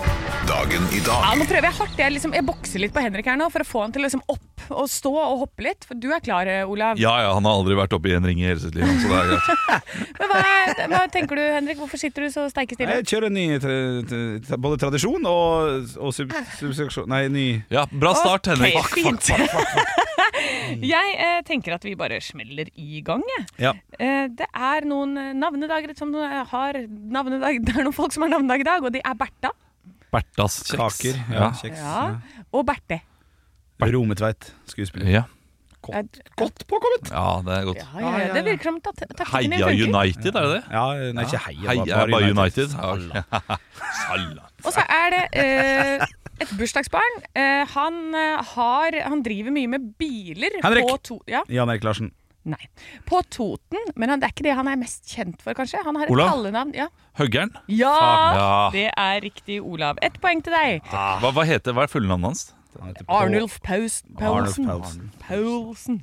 Speaker 7: Dagen i
Speaker 6: Ja,
Speaker 7: dag
Speaker 6: nå prøver jeg hardt. Jeg, liksom, jeg bokser litt på Henrik her nå for å få han til å liksom opp og stå og hoppe litt. For du er klar, eh, Olav.
Speaker 4: Ja, ja, han har aldri vært oppe i en ring i hele sitt liv. Så det er greit.
Speaker 6: Men hva, hva tenker du, Henrik? Hvorfor sitter du så steike stille?
Speaker 5: Jeg kjører en ny tra tra tra både tradisjon og, og sub subseksjon Nei, ny
Speaker 4: Ja, Bra start, Henrik.
Speaker 6: Ok, fint. Jeg eh, tenker at vi bare smeller i gang. jeg.
Speaker 5: Ja.
Speaker 6: Eh, det er noen eh, navnedager som eh, har navnedag. [LAUGHS] Det er noen folk som har navnedag i dag, og det er Bertha
Speaker 4: Bertas kjeks.
Speaker 5: kaker. Ja,
Speaker 4: Ja.
Speaker 5: kjeks.
Speaker 6: Ja. og Berthe.
Speaker 5: Rometveit, skuespiller.
Speaker 4: Ja.
Speaker 6: Eh,
Speaker 5: Godt påkommet!
Speaker 4: ja, det er godt.
Speaker 6: Ja, ja, ja. Det virker som ta- ta- taktikken din
Speaker 4: Heia
Speaker 6: funker.
Speaker 4: United, er det det?
Speaker 5: Ja, nei, ikke heia,
Speaker 4: Heia
Speaker 5: bare- bare United.
Speaker 4: Ja, ok. [LAUGHS] Salla.
Speaker 6: Og så er det eh, et bursdagsbarn. Eh, han, eh, har, han driver mye med biler
Speaker 5: Henrik!
Speaker 6: på to... Ja,
Speaker 5: Jan Erik Larsen.
Speaker 6: nei. På Toten, men han, det er ikke det han er mest kjent for, kanskje. Han har et
Speaker 4: Olav?
Speaker 6: kallenavn. Ja.
Speaker 4: Høggern.
Speaker 6: Ja,
Speaker 4: Ja.
Speaker 6: det er riktig, Olav. Ett poeng til deg.
Speaker 4: Hva, hva heter hva er fullnavnet hans?
Speaker 6: Arnulf Paus Paulsen.
Speaker 5: Arnulf Paulsen.
Speaker 6: Paulsen.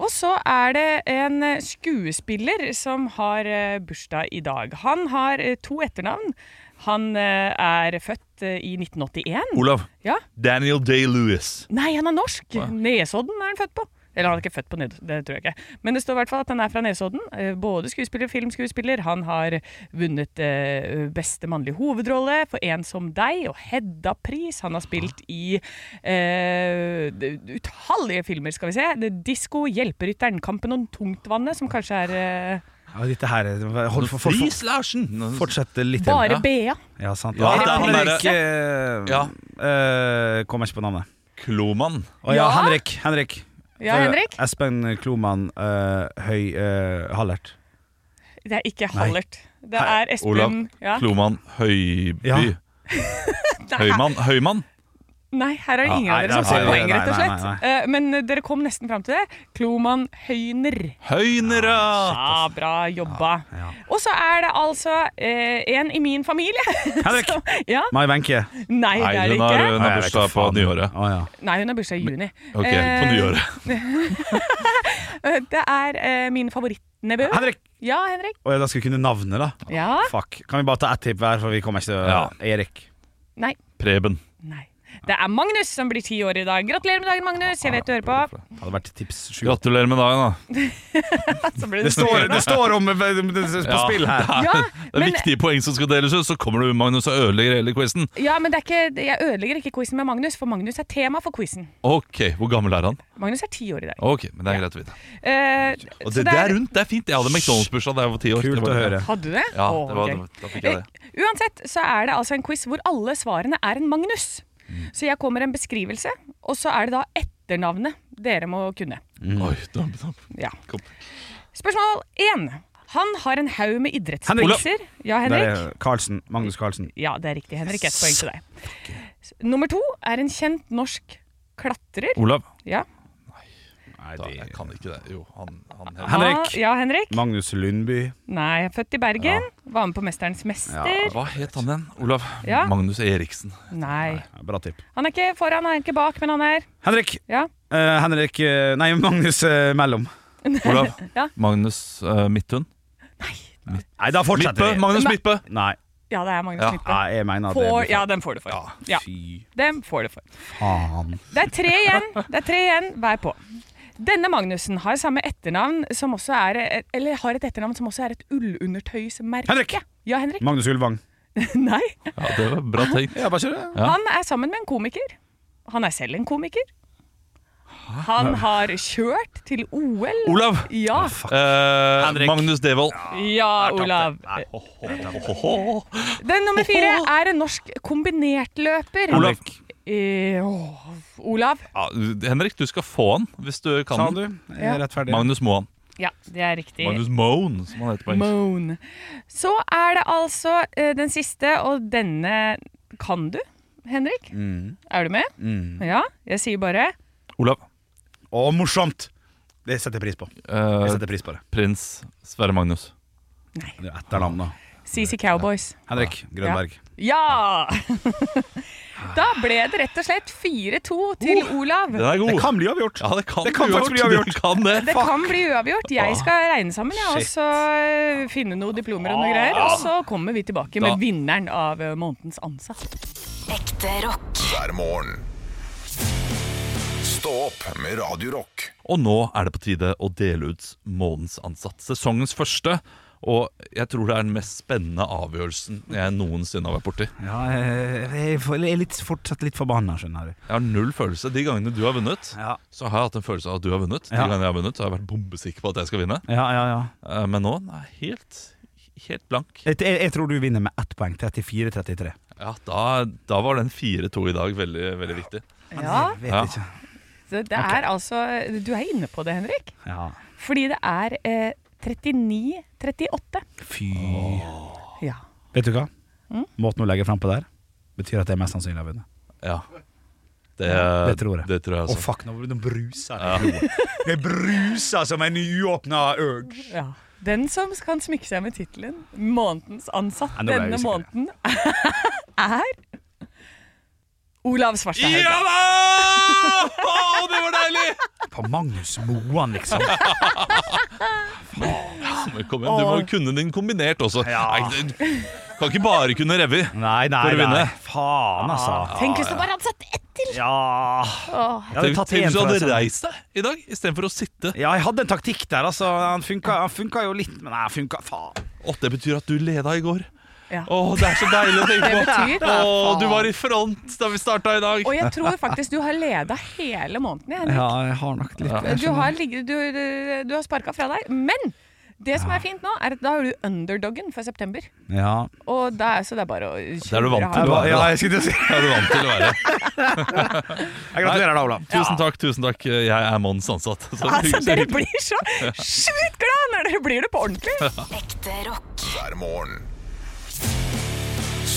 Speaker 6: Og så er det en eh, skuespiller som har eh, bursdag i dag. Han har eh, to etternavn. Han eh, er født eh, i 1981.
Speaker 4: Olav.
Speaker 6: Ja.
Speaker 4: Daniel Day-Lewis.
Speaker 6: Nei, han er norsk! Nesodden er han født på. Eller han er ikke født på Nesodden, det tror jeg ikke. Men det står i hvert fall at han er fra Nesodden. Eh, Både skuespiller og filmskuespiller. Han har vunnet eh, beste mannlige hovedrolle for En som deg og Hedda-pris. Han har spilt i eh, d- utallige filmer, skal vi se. Det- Disko, Hjelperytteren, Kampen om tungtvannet, som kanskje er eh,
Speaker 5: Ja, dette her er- Hold for, for, for,
Speaker 4: Larsen!
Speaker 5: Fortsett litt til.
Speaker 6: bare Bea.
Speaker 5: Ja, sant.
Speaker 4: Ja,
Speaker 5: det er
Speaker 6: han
Speaker 5: Henrik
Speaker 4: Ja.
Speaker 5: eh, eh, Kommer ikke på navnet.
Speaker 4: Kloman.
Speaker 5: Å ja,
Speaker 6: Ja.
Speaker 5: Henrik. Henrik.
Speaker 6: Ja,
Speaker 5: Eh,
Speaker 6: Henrik?
Speaker 5: Espen Kloman eh, Høy eh,
Speaker 6: [LAUGHS]
Speaker 5: Hallert.
Speaker 6: Det er ikke Hallert. Det
Speaker 5: Hei,
Speaker 6: er Espen
Speaker 4: Olav
Speaker 6: ja.
Speaker 4: Kloman Høyby. [LAUGHS]
Speaker 5: Ja.
Speaker 4: Høymann. Høymann.
Speaker 6: Nei, her er det
Speaker 5: Ja,
Speaker 6: ingen av
Speaker 5: Ah, nei,
Speaker 6: dere som
Speaker 5: nei,
Speaker 6: får
Speaker 5: nei,
Speaker 6: poeng,
Speaker 5: nei,
Speaker 6: rett og
Speaker 5: nei, nei,
Speaker 6: slett. Eh, Men eh, dere kom nesten fram til det. Kloman Høyner.
Speaker 4: Høynera!
Speaker 6: Ja, bra jobba.
Speaker 5: Ah, ja.
Speaker 6: Og så er det altså eh, en i min familie. [LAUGHS]
Speaker 5: Henrik!
Speaker 6: ja,
Speaker 5: Mai Wenche.
Speaker 6: Nei, det er
Speaker 4: Nei, hun har, hun
Speaker 6: det ikke.
Speaker 5: Nei,
Speaker 4: har
Speaker 5: jeg vet
Speaker 4: bursdag
Speaker 5: ikke
Speaker 4: på
Speaker 5: faen.
Speaker 4: nyåret.
Speaker 5: Å ja.
Speaker 6: Nei, hun har bursdag i juni.
Speaker 4: Ok, på
Speaker 6: Eh,
Speaker 4: nyåret.
Speaker 6: eh, Det er eh, min favorittnevø.
Speaker 5: Henrik! Ah,
Speaker 6: Ja, Henrik.
Speaker 5: Å ja, da skal vi kunne navnet, da.
Speaker 6: Ja.
Speaker 5: Fuck. Kan vi bare ta ett tipp hver, for vi kommer ikke til å
Speaker 4: Ja.
Speaker 5: Erik.
Speaker 6: Nei.
Speaker 4: Preben.
Speaker 6: Nei. Det er Magnus som blir ti år i dag. Gratulerer med dagen, Magnus. Jeg vet du hører på.
Speaker 5: Det hadde vært tips sju.
Speaker 4: Gratulerer med dagen, da.
Speaker 6: Så ble
Speaker 5: Det står, det står om eh, det det- på
Speaker 4: Ja.
Speaker 5: spill her.
Speaker 6: Ja,
Speaker 4: Det er
Speaker 6: men,
Speaker 4: viktige poeng som skal deles ut, så kommer du, Magnus, og ødelegger hele quizen.
Speaker 6: ja, men det er ikke, jeg ødelegger ikke quizen med Magnus, for Magnus er tema for quizen.
Speaker 4: Ok, Hvor gammel er han?
Speaker 6: Magnus er ti år i dag.
Speaker 4: Ok, men Det er greit å vite.
Speaker 6: Eh,
Speaker 4: Og
Speaker 6: så
Speaker 4: det, det er rundt, det er fint. Jeg hadde McDonald's-bursdag da jeg var ti år.
Speaker 5: Kult
Speaker 4: Det var-
Speaker 5: å høre.
Speaker 6: Hadde du det?
Speaker 4: Ja,
Speaker 6: Å,
Speaker 4: det var,
Speaker 6: gøy.
Speaker 4: da fikk jeg det.
Speaker 6: Eh, Uansett så er det altså en quiz hvor alle svarene er en Magnus. Så jeg kommer en beskrivelse, og så er det da etternavnet dere må kunne.
Speaker 4: Oi, damp, damp.
Speaker 6: Ja.
Speaker 4: Kom.
Speaker 6: Spørsmål én. Han har en haug med idrettspriser. Ja,
Speaker 5: Der
Speaker 6: Henrik.
Speaker 5: er Carlsen. Magnus Carlsen.
Speaker 6: Ja, det er riktig. Henrik, ett poeng til deg. Nummer to er en kjent norsk klatrer.
Speaker 4: Olav?
Speaker 6: Ja.
Speaker 5: Nei,
Speaker 4: Da, jeg
Speaker 5: det-
Speaker 4: kan ikke det. Jo, han, han
Speaker 5: Henrik.
Speaker 6: Ah, Ja, Henrik.
Speaker 5: Magnus Lundby.
Speaker 6: Nei, født i Bergen. Var med på 'Mesterens mester'.
Speaker 4: Hva het han igjen? Olav?
Speaker 6: Ja.
Speaker 4: Magnus Eriksen.
Speaker 6: Nei.
Speaker 5: Ja, Bra tipp.
Speaker 6: Han er ikke foran, han er ikke bak, men han er
Speaker 5: Henrik.
Speaker 6: Ja.
Speaker 5: Eh, Henrik eh, Nei, Magnus eh, Mellom.
Speaker 4: [LAUGHS] Olav?
Speaker 6: Ja.
Speaker 4: Magnus eh, Midthun?
Speaker 5: Nei, da
Speaker 4: Midtbø?
Speaker 5: fortsetter vi.
Speaker 4: Magnus
Speaker 6: Nei.
Speaker 4: Midtbø!
Speaker 5: Nei,
Speaker 6: Ja, det er Magnus
Speaker 4: Ja.
Speaker 6: Knippe.
Speaker 5: nei, jeg mener at det
Speaker 6: Får,
Speaker 5: blir
Speaker 6: ja, den får du for. Ja.
Speaker 5: Fy
Speaker 6: Dem får du for.
Speaker 5: faen.
Speaker 6: Det er tre igjen. Det er tre igjen. Vær på. Denne Magnussen har samme etternavn som også er Eller har et etternavn som også er et ullundertøysmerke.
Speaker 5: Henrik!
Speaker 6: Ja, Henrik.
Speaker 5: Magnus Ulvang.
Speaker 6: Nei.
Speaker 4: Mm. Ja, det var bra tenkt.
Speaker 5: Ja, bare kjør det.
Speaker 6: Han er sammen med en komiker. Han er selv en komiker. Han har kjørt til OL.
Speaker 4: Olav!
Speaker 6: Ja,
Speaker 4: Eh,
Speaker 5: Henrik.
Speaker 4: Magnus Devold. Eh,
Speaker 6: ja Olav. Den nummer fire er en norsk kombinertløper.
Speaker 4: Olav.
Speaker 6: Eh, åh, Olav.
Speaker 4: Ja, Henrik, du skal få han hvis du kan.
Speaker 5: Sa
Speaker 4: den.
Speaker 5: du? Jeg er rettferdig.
Speaker 4: Magnus Moan.
Speaker 6: Ja, det er riktig.
Speaker 4: Magnus Moan, som han heter på engelsk.
Speaker 6: Moan. Så er det altså eh, den siste, og denne kan du, Henrik.
Speaker 5: Mm.
Speaker 6: Er du med? Ja, jeg sier bare
Speaker 4: Olav.
Speaker 5: Å, morsomt! Det setter jeg pris på.
Speaker 4: Eh,
Speaker 5: Jeg setter pris på det.
Speaker 4: prins Sverre Magnus.
Speaker 5: Det er etternavn, da.
Speaker 6: CC Cowboys.
Speaker 5: Henrik Grønberg.
Speaker 6: Ja! [LAUGHS] da ble det rett og slett 4-2 til Olav.
Speaker 4: Den er god.
Speaker 5: Oh. Det kan bli avgjort.
Speaker 4: ja, det kan,
Speaker 5: Det kan
Speaker 4: bli
Speaker 5: faktisk bli
Speaker 4: avgjort.
Speaker 5: avgjort.
Speaker 4: Det kan det.
Speaker 6: Det kan bli uavgjort. Jeg skal regne sammen ja, og
Speaker 5: Shit.
Speaker 6: så eh, finne noen diplomer og noe greier. Og så kommer vi tilbake
Speaker 4: Da-
Speaker 6: med vinneren av eh, månedens ansatt.
Speaker 7: hver morgen. Stå opp opp med Radio Rock.
Speaker 4: Og nå er det på tide å dele ut månedens ansatt. Sesongens første. Og jeg tror det er den mest spennende avgjørelsen jeg noensinne har vært borti.
Speaker 5: Ja, eh, jeg er for- jeg er litt, fortsatt litt forbanna, skjønner du.
Speaker 4: Jeg har null følelse. De gangene du har vunnet,
Speaker 5: Ja.
Speaker 4: så har jeg hatt en følelse av at du har vunnet. De
Speaker 5: Ja.
Speaker 4: gangene jeg har vunnet, så har jeg vært bombesikker på at jeg skal vinne.
Speaker 5: Ja, ja, ja.
Speaker 4: Eh, Men nå nei, helt, helt blank.
Speaker 5: Jeg, jeg, jeg tror du vinner med ett poeng. 34-33.
Speaker 4: Ja, da, da var den 4-2 i dag veldig, veldig viktig.
Speaker 6: Ja,
Speaker 5: Jeg vet
Speaker 4: Ja.
Speaker 5: ikke.
Speaker 6: så det er altså Du er inne på det, Henrik.
Speaker 5: Ja.
Speaker 6: Fordi det er eh, 39-38.
Speaker 5: Fy
Speaker 6: Ja.
Speaker 5: Vet du hva?
Speaker 6: Mm?
Speaker 5: Måten hun legger fram på der, betyr at jeg mest sannsynlig har vunnet.
Speaker 4: Ja. Det,
Speaker 5: det tror jeg.
Speaker 4: Det tror
Speaker 5: Å,
Speaker 4: jeg også.
Speaker 5: fuck, nå bruser det. Jeg bruser som en nyåpna urge.
Speaker 6: ja. Den som kan smykke seg med tittelen 'Månedens ansatt'
Speaker 5: Ja, nå ble jeg
Speaker 6: denne
Speaker 5: usikker.
Speaker 6: måneden, [LAUGHS] er Olav Svarstad Haug.
Speaker 4: Ja da! Å, det var deilig!
Speaker 5: På Magnus Moan, liksom.
Speaker 4: Men kom igjen, du må jo kunne din kombinert også. Nei, du kan ikke bare kunne revy.
Speaker 5: Nei, nei,
Speaker 4: For å vinne. Ah.
Speaker 5: nei. Faen, altså.
Speaker 6: Tenk hvis du bare hadde sett etter!
Speaker 5: Ja Jeg hadde
Speaker 4: Tenk
Speaker 5: tatt
Speaker 4: tenk
Speaker 5: en
Speaker 4: hvis du
Speaker 5: fra
Speaker 4: hadde
Speaker 6: altså.
Speaker 5: sånn.
Speaker 4: reist deg i dag istedenfor å sitte.
Speaker 5: Ja, jeg hadde en taktikk der, altså. Han funka, han funka jo litt, men nei, han funka faen.
Speaker 4: Å, det betyr at du leda i går.
Speaker 6: Ja.
Speaker 4: Å, det er så deilig å tenke
Speaker 6: [LAUGHS] Det
Speaker 4: på.
Speaker 6: betyr
Speaker 4: Å, du var i front da vi starta i dag.
Speaker 6: Og jeg tror faktisk du har leda hele måneden. Henrik.
Speaker 5: Ja, jeg har nok litt
Speaker 6: Du har, ligget- du, du, du har sparka fra deg. Men det som er fint nå, er at da har du underdoggen for september.
Speaker 5: Ja.
Speaker 6: Og da, er- så det er bare å
Speaker 4: Det er du vant til
Speaker 5: Ja,
Speaker 4: å være. da.
Speaker 5: jeg skulle til å si
Speaker 4: Det er du vant til å
Speaker 6: [LAUGHS]
Speaker 4: være.
Speaker 5: Jeg gratulerer deg, Olav.
Speaker 4: Tusen takk, tusen takk. Jeg er månedens ansatt. Så
Speaker 6: Altså,
Speaker 4: hyggelig.
Speaker 6: dere blir så sjukt glad når dere blir det på ordentlig!
Speaker 7: hver morgen.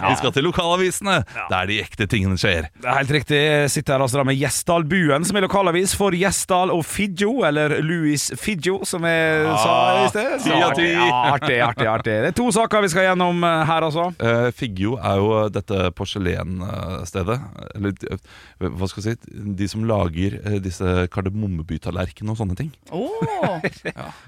Speaker 4: Vi skal til lokalavisene, der de ekte tingene skjer.
Speaker 5: Det er helt riktig. Jeg sitter her altså da med Gjesdalbuen, som er lokalavis for Gjesdal og Figgjo, eller Louis Figgjo, som jeg sa i sted. Så
Speaker 4: ti av ti.
Speaker 5: Ja, artig, artig, artig. Det er to saker vi skal gjennom eh, her, altså.
Speaker 4: Eh, Figgjo er jo dette porselenstedet. Eller eh, hva skal jeg si De som lager eh, disse kardemommebytallerkenene og sånne ting.
Speaker 6: Åh,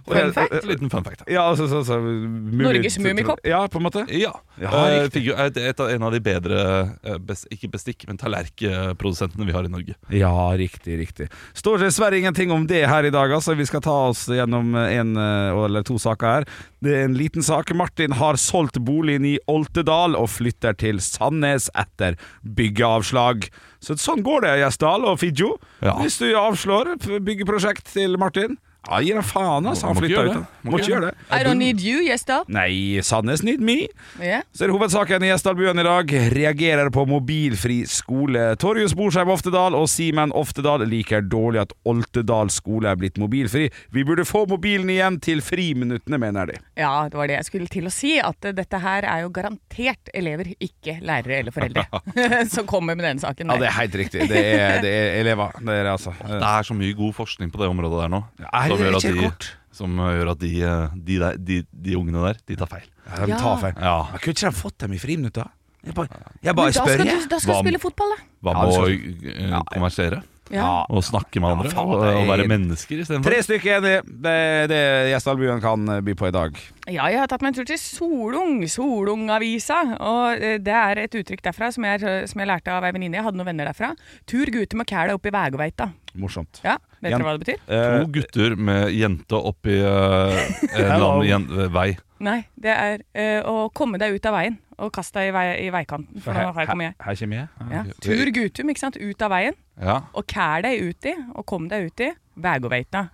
Speaker 5: Fun
Speaker 4: En liten fun fact.
Speaker 5: Ja, altså, så, så, mumi-
Speaker 6: Norges Mumikopp.
Speaker 5: Ja, på en måte.
Speaker 4: Ja.
Speaker 5: Ja,
Speaker 4: Eh,
Speaker 5: riktig.
Speaker 4: Figgjo er et- et av, en av de bedre eh, bes, Ikke bestikk, men tallerkenprodusentene vi har i Norge.
Speaker 5: Ja, riktig, riktig. Står dessverre ingenting om det her i dag, altså. Vi skal ta oss gjennom en eh, eller to saker her. Det er en liten sak. Martin har solgt boligen i Oltedal og flytter til Sandnes etter byggeavslag. Så sånn går det, Gjesdal og Figgjo.
Speaker 4: Ja.
Speaker 5: Hvis du avslår p- byggeprosjekt til Martin, ja, gir han faen, altså. Han
Speaker 4: Må ikke
Speaker 5: flytter
Speaker 4: gjøre
Speaker 5: ut.
Speaker 4: det.
Speaker 5: Må, ikke gjøre det.
Speaker 6: I don't need you, gjester.
Speaker 5: Nei, Sandnes need me.
Speaker 6: Ja.
Speaker 5: Så er det hovedsaken i Gjesdalbuen i dag. Reagerer på mobilfri skole. Torjus Borsheim Oftedal og Simen Oftedal liker dårlig at Oltedal skole er blitt mobilfri. Vi burde få mobilen igjen til friminuttene, mener de.
Speaker 6: ja, det var det jeg skulle til å si. At eh, dette her er jo garantert elever, ikke lærere eller foreldre, [LAUGHS] som kommer med denne saken.
Speaker 5: Ja,
Speaker 6: der.
Speaker 5: det er helt riktig. Det er, det er elever. Det er det, altså.
Speaker 4: Det er så mye god forskning på det området der nå.
Speaker 5: Ja, er det
Speaker 4: gjør at
Speaker 5: ikke
Speaker 4: de,
Speaker 5: kort?
Speaker 4: som gjør at de, eh, de, der, de, de ungene der, de tar feil.
Speaker 5: Ja, de tar feil.
Speaker 4: Ja.
Speaker 5: Jeg kunne ikke de fått dem i friminutta? Jeg bare, jeg
Speaker 6: Men
Speaker 5: bare
Speaker 6: da
Speaker 5: spør,
Speaker 6: skal
Speaker 5: jeg.
Speaker 6: du, da skal
Speaker 4: Hva-
Speaker 6: du spille fotball, da.
Speaker 4: Hva
Speaker 5: Ja,
Speaker 4: med
Speaker 5: det
Speaker 4: å
Speaker 5: skal
Speaker 4: eh, konversere?
Speaker 6: Ja.
Speaker 4: Og snakke med andre?
Speaker 5: faen,
Speaker 4: og, eh,
Speaker 5: det er-
Speaker 4: og være mennesker istedenfor?
Speaker 5: Tre stykker er det. Det er det Gjesdalbuen kan by på i dag.
Speaker 6: Ja, jeg har tatt meg en tur til Solung, Solung-avisa. Og eh, det er et uttrykk derfra som jeg, som jeg lærte av ei venninne. Jeg hadde noen venner derfra. Tur gute med kæla opp i Vægåveita.
Speaker 5: Morsomt.
Speaker 6: Ja, vet
Speaker 5: Jan-
Speaker 6: dere hva det betyr?
Speaker 4: Eh, To gutter med jente oppi eh,
Speaker 5: [LAUGHS]
Speaker 4: en eller annen jen- eh, vei.
Speaker 6: Nei, det er eh, å komme deg ut av veien. Og kaste deg i, vei, i veikanten. For nå her kommer jeg.
Speaker 5: Her kommer jeg.
Speaker 6: Ja. Tur gutum, ikke sant. Ut av veien.
Speaker 4: Ja.
Speaker 6: Og kæl deg uti, og kom deg uti Vægåveita.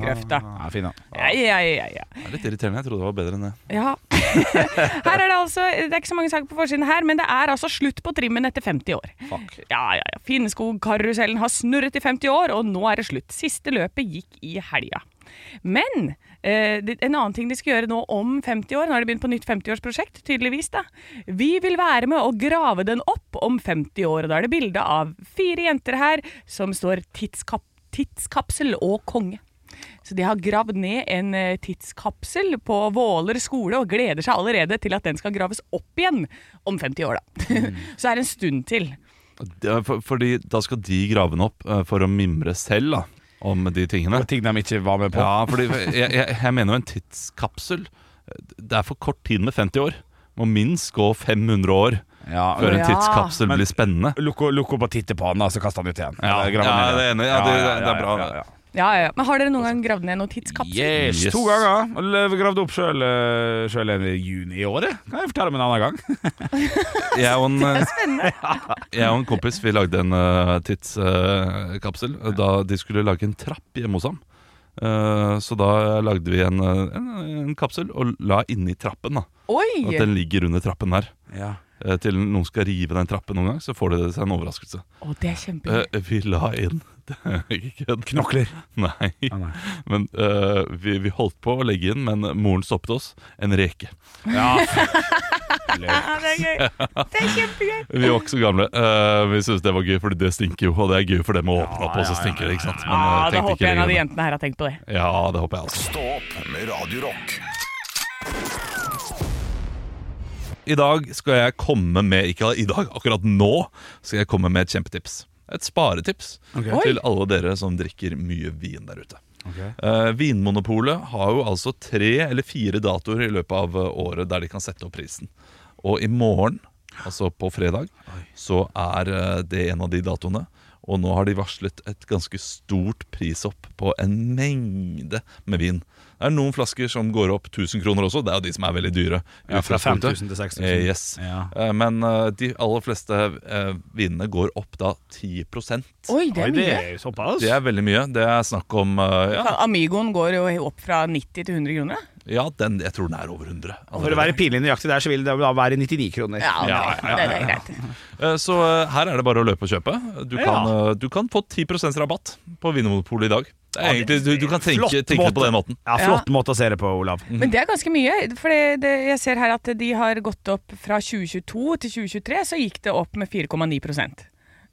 Speaker 6: Grøfta.
Speaker 5: Ja, fin, da.
Speaker 6: Ja, ja, ja, ja.
Speaker 4: Det er litt irriterende. Jeg trodde det var bedre enn det.
Speaker 6: Ja. [LAUGHS] Her er det altså Det er ikke så mange saker på forsiden her, men det er altså slutt på trimmen etter 50 år.
Speaker 5: Fuck.
Speaker 6: Ja, ja, ja. Finneskogkarusellen har snurret i 50 år, og nå er det slutt. Siste løpet gikk i helga. Men eh, det- en annen ting de skal gjøre nå om 50 år, nå har de begynt på nytt 50-årsprosjekt, tydeligvis da. Vi vil være med å grave den opp om 50 år, og da er det bilde av fire jenter her som står tidskap tidskapsel og konge. Så de har gravd ned en eh, tidskapsel på Våler skole og gleder seg allerede til at den skal graves opp igjen om 50 år, da.
Speaker 4: Mm.
Speaker 6: [LAUGHS] Så er det en stund til.
Speaker 4: det er for, fordi da skal de grave den opp eh, for å mimre selv da, om de tingene.
Speaker 5: Og ting de ikke var med på.
Speaker 4: Ja, fordi jeg, jeg, jeg mener jo en tidskapsel. Det er for kort tid med 50 år. Må minst gå 500 år
Speaker 5: Ja,
Speaker 4: Før en
Speaker 6: Ja.
Speaker 4: tidskapsel blir spennende.
Speaker 5: Lukk lukk opp og titte på han, da, så kaster han ut igjen.
Speaker 4: Ja,
Speaker 5: Eller graver
Speaker 4: ja,
Speaker 5: ned
Speaker 4: det er enig. Ja, det- det er bra, det.
Speaker 6: Ja, ja, ja. Men har dere noen gang gravd ned noen tidskapsel?
Speaker 5: Yes.
Speaker 4: Yes.
Speaker 5: To ganger. Eller Gravd opp sjøl en i juni i året. Kan jeg fortelle om en annen gang.
Speaker 4: [LAUGHS] Jeg og en, [LAUGHS] jeg og en kompis vi lagde en eh, tidskapsel da de skulle lage en trapp hjemme hos ham. Eh, så da lagde vi en, eh, en, en kapsel og la inni trappen. da At
Speaker 6: Oi!
Speaker 4: den ligger under trappen der.
Speaker 5: Ja.
Speaker 4: Eh, til noen skal rive den trappen noen gang, så får de seg en overraskelse.
Speaker 6: Å, det er kjempegøy.
Speaker 4: Eh, vi la inn [LAUGHS] Det er ikke kødd.
Speaker 5: Knokler.
Speaker 4: [LAUGHS] Nei.
Speaker 5: Ah, nei.
Speaker 4: Men eh, vi, vi holdt på å legge inn, men moren stoppet oss. En reke.
Speaker 6: Ja, det er gøy. Det er kjempegøy.
Speaker 4: Vi var ikke så gamle. Eh, vi syntes det var gøy, fordi det stinker jo. Og det er gøy for dem å åpne opp, og så stinker det. ikke sant? Men,
Speaker 6: Ja,
Speaker 4: eh,
Speaker 6: da
Speaker 4: tenkte
Speaker 6: håper jeg en av de
Speaker 4: lenger
Speaker 6: jentene her har tenkt på det.
Speaker 4: på det. Ja, det håper jeg altså. også.
Speaker 7: Stå opp med Radio Rock.
Speaker 4: I dag skal jeg komme med ikke i dag, akkurat nå skal jeg komme med et kjempetips. Et sparetips til alle dere som drikker mye vin der ute. Eh, Vinmonopolet har jo altså tre eller fire datoer i løpet av eh, året der de kan sette opp prisen. Og i morgen, altså på fredag, så er eh, det en av de datoene. Og nå har de varslet et ganske stort prisopp på en mengde med vin. Det er noen flasker som går opp 1000 kroner også. Det er jo de som er veldig dyre. i
Speaker 5: Ja, fra
Speaker 4: utgangspunktet.
Speaker 5: 5000 til 6000.
Speaker 4: Eh, yes.
Speaker 5: Ja.
Speaker 4: Eh, Men eh, de aller fleste eh, vinene går opp da 10
Speaker 6: Oi, det er mye.
Speaker 5: er jo såpass.
Speaker 4: Det er veldig mye. Det er snakk om eh, ja,
Speaker 6: Faen, Amigoen går jo opp fra 90 til 100 kroner. da.
Speaker 4: ja, den, jeg tror den er over 100.
Speaker 5: For å være pinlig nøyaktig der, så vil det da være 99 kroner.
Speaker 6: Ja, det,
Speaker 4: Ja, ja,
Speaker 6: det, det er greit.
Speaker 4: Eh, Så eh, her er det bare å løpe og kjøpe. Du
Speaker 5: Ja.
Speaker 4: kan, eh, du kan få 10 rabatt på Vinmonopolet i dag. Det er egentlig, du, du kan
Speaker 5: Flott
Speaker 4: tenke, tenke det på den måten.
Speaker 5: Ja, Flott måte å se det på, Olav.
Speaker 6: Men det er ganske mye. For det, det, jeg ser her at de har gått opp fra 2022 til 2023, så gikk det opp med 4,9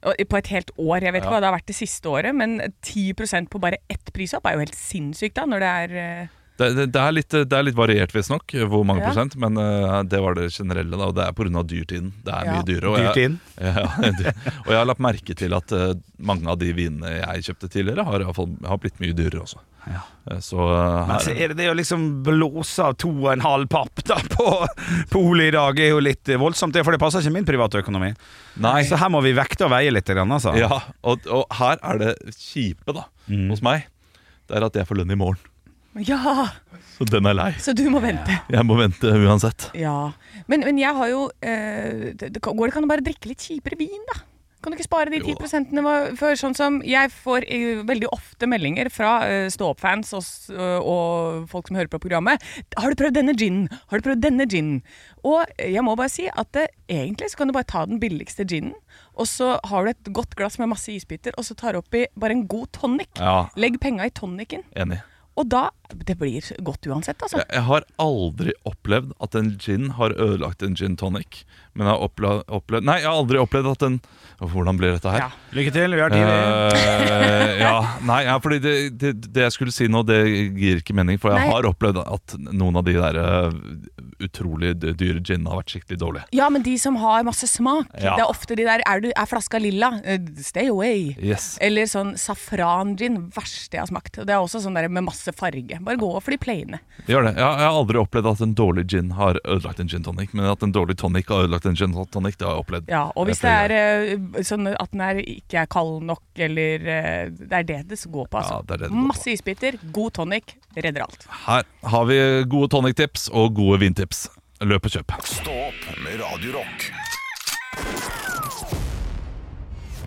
Speaker 6: Og På et helt år. Jeg vet ikke hva det har vært det siste året, men 10 på bare ett prisopp er jo helt sinnssykt, da, når det er eh,
Speaker 4: Det, det, det, er litt, det er litt variert, visstnok, hvor mange
Speaker 6: Ja.
Speaker 4: prosent, men eh, det var det generelle. Da, og det er pga. dyrtiden. Det er
Speaker 6: Ja.
Speaker 4: mye dyrere. og jeg-
Speaker 5: Dyrtid.
Speaker 4: [LAUGHS] Ja, det- og jeg har lagt merke til at eh, mange av de vinene jeg kjøpte tidligere, har, i hvert fall- har blitt mye dyrere også. Eh, Så eh,
Speaker 5: Men så
Speaker 4: her,
Speaker 5: er det det å liksom blåse av to og en halv papp da på polet i dag, er jo litt voldsomt, det, for det passer ikke min private økonomi.
Speaker 4: Nei.
Speaker 5: Så her må vi vekte og veie litt, grann, altså.
Speaker 4: ja, og, og her er det kjipe da, hos meg, det er at jeg får lønn i morgen.
Speaker 6: Ja!
Speaker 4: Så den er lei.
Speaker 6: Så du må vente.
Speaker 4: Jeg må vente uansett.
Speaker 6: Ja. Men, men jeg har jo eh, det, det, kan- Går det ikke an å bare drikke litt kjipere vin, da? Kan du ikke spare de
Speaker 4: Jo da.
Speaker 6: 10 hva- for sånn som Jeg får eh, veldig ofte meldinger fra eh, stå-opp-fans og, s- eh, og folk som hører på programmet. 'Har du prøvd denne ginen?' 'Har du prøvd denne ginen?' Og eh, jeg må bare si at eh, egentlig så kan du bare ta den billigste ginen, og så har du et godt glass med masse isbiter, og så tar du oppi bare en god tonic.
Speaker 4: Ja.
Speaker 6: Legg penga i tonicen,
Speaker 4: Enig.
Speaker 6: og da Det blir godt uansett, altså.
Speaker 4: Jeg, jeg har aldri opplevd at en gin har ødelagt en gin tonic. Men jeg har opplevd, opplevd Nei, jeg har aldri opplevd at en Åh, Hvordan blir dette her?
Speaker 6: Ja.
Speaker 5: Lykke til, vi har tid.
Speaker 4: Eh, ja, nei, ja, fordi det, det, det jeg skulle si nå, det gir ikke mening. For jeg
Speaker 6: Nei.
Speaker 4: har opplevd at noen av de der eh, utrolig d- dyre ginene har vært skikkelig dårlige.
Speaker 6: Ja, men de som har masse smak.
Speaker 4: Ja.
Speaker 6: Det er ofte de der Er, du, er flaska lilla? Eh, Stay away.
Speaker 4: Yes.
Speaker 6: Eller sånn safrangin. Verste jeg har smakt. Og Det er også sånn der med masse farge. Bare gå for de plaine.
Speaker 4: Gjør det. Ja, jeg har aldri opplevd at en dårlig gin har ødelagt en gin tonic. Men at en dårlig tonic har ødelagt en gin tonic, det har jeg opplevd.
Speaker 6: Ja, og hvis det
Speaker 4: flere
Speaker 6: er eh, sånn at den er ikke er kald nok, eller eh, Det er det det går på, altså.
Speaker 4: Ja, det er det det går på.
Speaker 6: masse isbiter, god tonic, redder alt.
Speaker 4: Her har vi gode tonictips og gode vintips. Løp og kjøp.
Speaker 7: Stå opp med Radio Rock.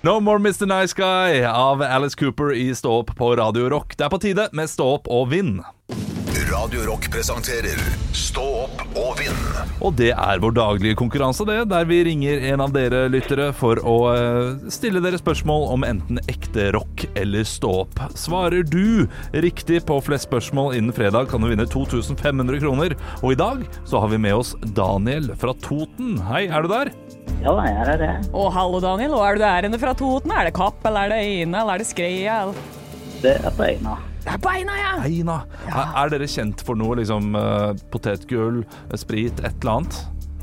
Speaker 4: No More Mr. Nice Guy av Alice Cooper i Stå opp på Radio Rock. Det er på tide med Stå opp og vinn.
Speaker 7: Radio Rock presenterer Stå opp og vinn.
Speaker 4: Og det er vår daglige konkurranse, det, der vi ringer en av dere lyttere for å eh, stille dere spørsmål om enten ekte rock eller stå opp. Svarer du riktig på flest spørsmål innen fredag, kan du vinne 2500 kroner. Og i dag så har vi med oss Daniel fra Toten. Hei, er du der?
Speaker 9: Ja, da, jeg er det.
Speaker 6: Å, hallo, Daniel. Hva er det du er inne fra Toten? Er det Kapp, eller er det Eina, eller er det Skreia? eller-
Speaker 9: Det er på Eina.
Speaker 6: Det er beina, ja!
Speaker 4: Eina. Er, er dere kjent for noe, liksom eh, potetgull, eh, sprit, et eller annet?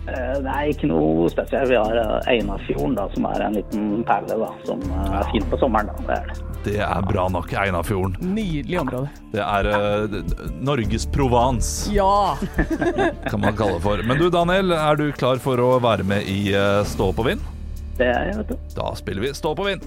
Speaker 9: Eh, Det er ikke noe spesielt. Vi har eh, Einafjorden, da, som er en liten perle da, som eh, er fin på sommeren. da, det er det.
Speaker 4: Det er bra nok, Einafjorden.
Speaker 6: Nydelig område.
Speaker 4: Det er eh, d- d- Norges Provence,
Speaker 6: Ja!
Speaker 4: kan man kalle det for. Men du, Daniel, er du klar for å være med i eh, Stå på vind?
Speaker 9: Det er jeg, vet du.
Speaker 4: Da spiller vi Stå på vind.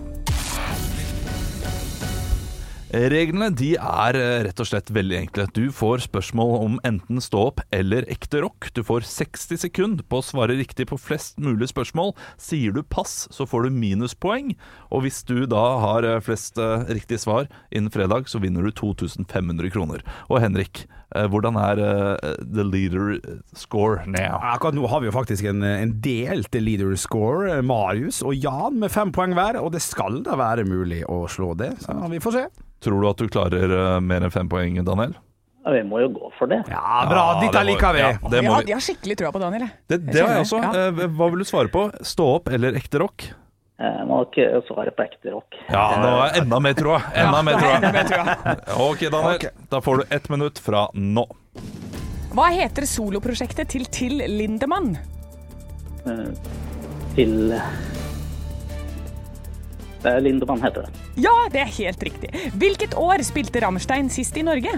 Speaker 4: Reglene de er eh, rett og slett veldig enkle. Du får spørsmål om enten stå opp eller ekte rock. Du får 60 sekunder på å svare riktig på flest mulig spørsmål. Sier du pass, så får du minuspoeng. Og hvis du da har eh, flest eh, riktige svar innen fredag, så vinner du 2500 kroner. Og Henrik, eh, hvordan er eh, the leader score now?
Speaker 5: Akkurat nå har vi jo faktisk en, en delt leader score. eh, Marius og Jan med fem poeng hver, og det skal da være mulig å slå det. Så vi får se.
Speaker 4: Tror du at du klarer eh, mer enn fem poeng, Daniel?
Speaker 9: Ja, vi må jo gå for det.
Speaker 5: Ja, bra.
Speaker 4: Ja,
Speaker 5: Dette
Speaker 4: det må-
Speaker 5: liker vi.
Speaker 4: ja, det
Speaker 6: Jeg
Speaker 4: må
Speaker 6: har,
Speaker 4: vi.
Speaker 6: jeg har skikkelig trua på Daniel. jeg.
Speaker 4: Det, det har jeg også.
Speaker 6: skjønner,
Speaker 4: Eh, Hva vil du svare på? Stå opp eller ekte rock?
Speaker 9: Jeg må nok eh, svare på ekte rock.
Speaker 4: Ja, nå er jeg enda mer troa. Enda mer
Speaker 6: [LAUGHS] Enda
Speaker 4: troa.
Speaker 6: mer trua.
Speaker 4: Ok, Daniel. Da får du ett minutt fra nå.
Speaker 6: Hva heter soloprosjektet til Till Lindemann?
Speaker 9: Eh, Til Det er Lindemann heter det.
Speaker 6: Ja, det er helt riktig. Hvilket år spilte Rammstein sist i Norge?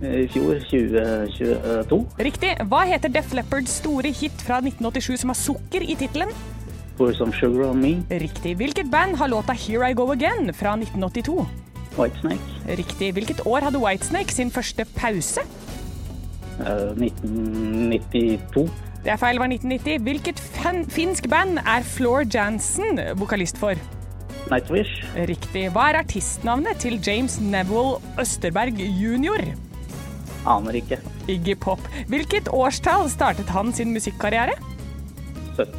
Speaker 9: Eh, I fjor, 2022,
Speaker 6: Riktig. Hva heter Def Leppards store hit fra 1987 som har sukker i tittelen?
Speaker 9: For Some Sugar On Me,
Speaker 6: Riktig. Hvilket band har låta Here I Go Again fra 1982?
Speaker 9: Whitesnake,
Speaker 6: Riktig. Hvilket år hadde Whitesnake sin første pause?
Speaker 9: eh, 1992,
Speaker 6: Det er feil, det var 1990. Hvilket fan finsk band er Floor Jansen vokalist for?
Speaker 9: Nightwish,
Speaker 6: Riktig. Hva er artistnavnet til James Neville Østerberg jr.?
Speaker 9: aner ikke.
Speaker 6: Iggy Pop. Hvilket årstall startet han sin musikkarriere?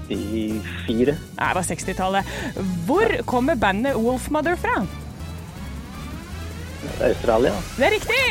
Speaker 9: 74,
Speaker 6: Nei, det var 60-tallet. Hvor kommer bandet Wolfmother fra?
Speaker 9: Australia.
Speaker 6: Det er riktig!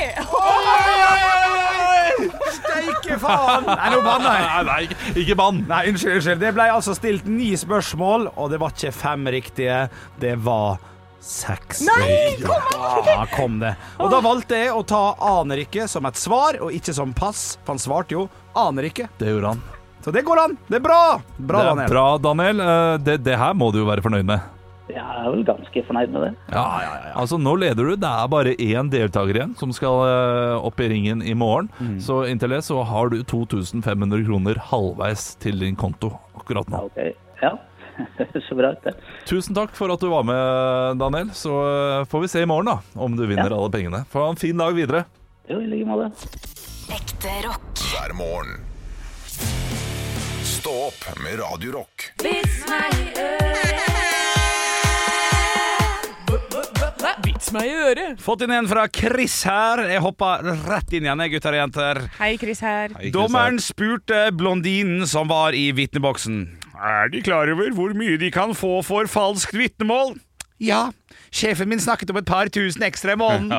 Speaker 5: Steike faen! Nei, nå banna jeg.
Speaker 4: Nei, ikke bann!
Speaker 5: Nei, unnskyld, unnskyld. Det ble altså stilt ni spørsmål, og det var ikke fem riktige. Det var seks.
Speaker 6: Nei,
Speaker 5: kom Ja, kom det. Og da valgte jeg å ta aner ikke som et svar, og ikke som pass. For han svarte jo aner ikke.
Speaker 4: Det gjorde han.
Speaker 5: Så det går an. Det er bra.
Speaker 4: Det
Speaker 5: Bra,
Speaker 4: er
Speaker 5: Daniel.
Speaker 4: bra, Daniel. Eh, Det, det her må du jo være fornøyd med.
Speaker 9: Jeg er vel ganske fornøyd med det.
Speaker 4: Altså, Nå leder du. Det er bare én deltaker igjen som skal eh, opp i ringen i morgen.
Speaker 5: Mm.
Speaker 4: Så inntil det så har du 2500 kroner halvveis til din konto akkurat nå.
Speaker 9: Ok, ja. [LAUGHS] Så bra ut det.
Speaker 4: Tusen takk for at du var med, Daniel. Så eh, får vi se i morgen da, om du vinner alle pengene. Få ha en fin dag videre.
Speaker 9: Jo, i like måte.
Speaker 10: Ekte rock.
Speaker 7: hver morgen. Stå opp med Radio Rock.
Speaker 6: Vits meg i øret.
Speaker 5: Fått inn en fra Chris her. Jeg hoppa rett inn igjen, jeg, gutter og jenter.
Speaker 6: Hei, Chris her.
Speaker 5: Dommeren spurte blondinen som var i vitneboksen. Er de klar over hvor mye de kan få for falskt vitnemål? Ja, sjefen min snakket om et par tusen ekstra i
Speaker 4: [LAUGHS]
Speaker 5: måneden.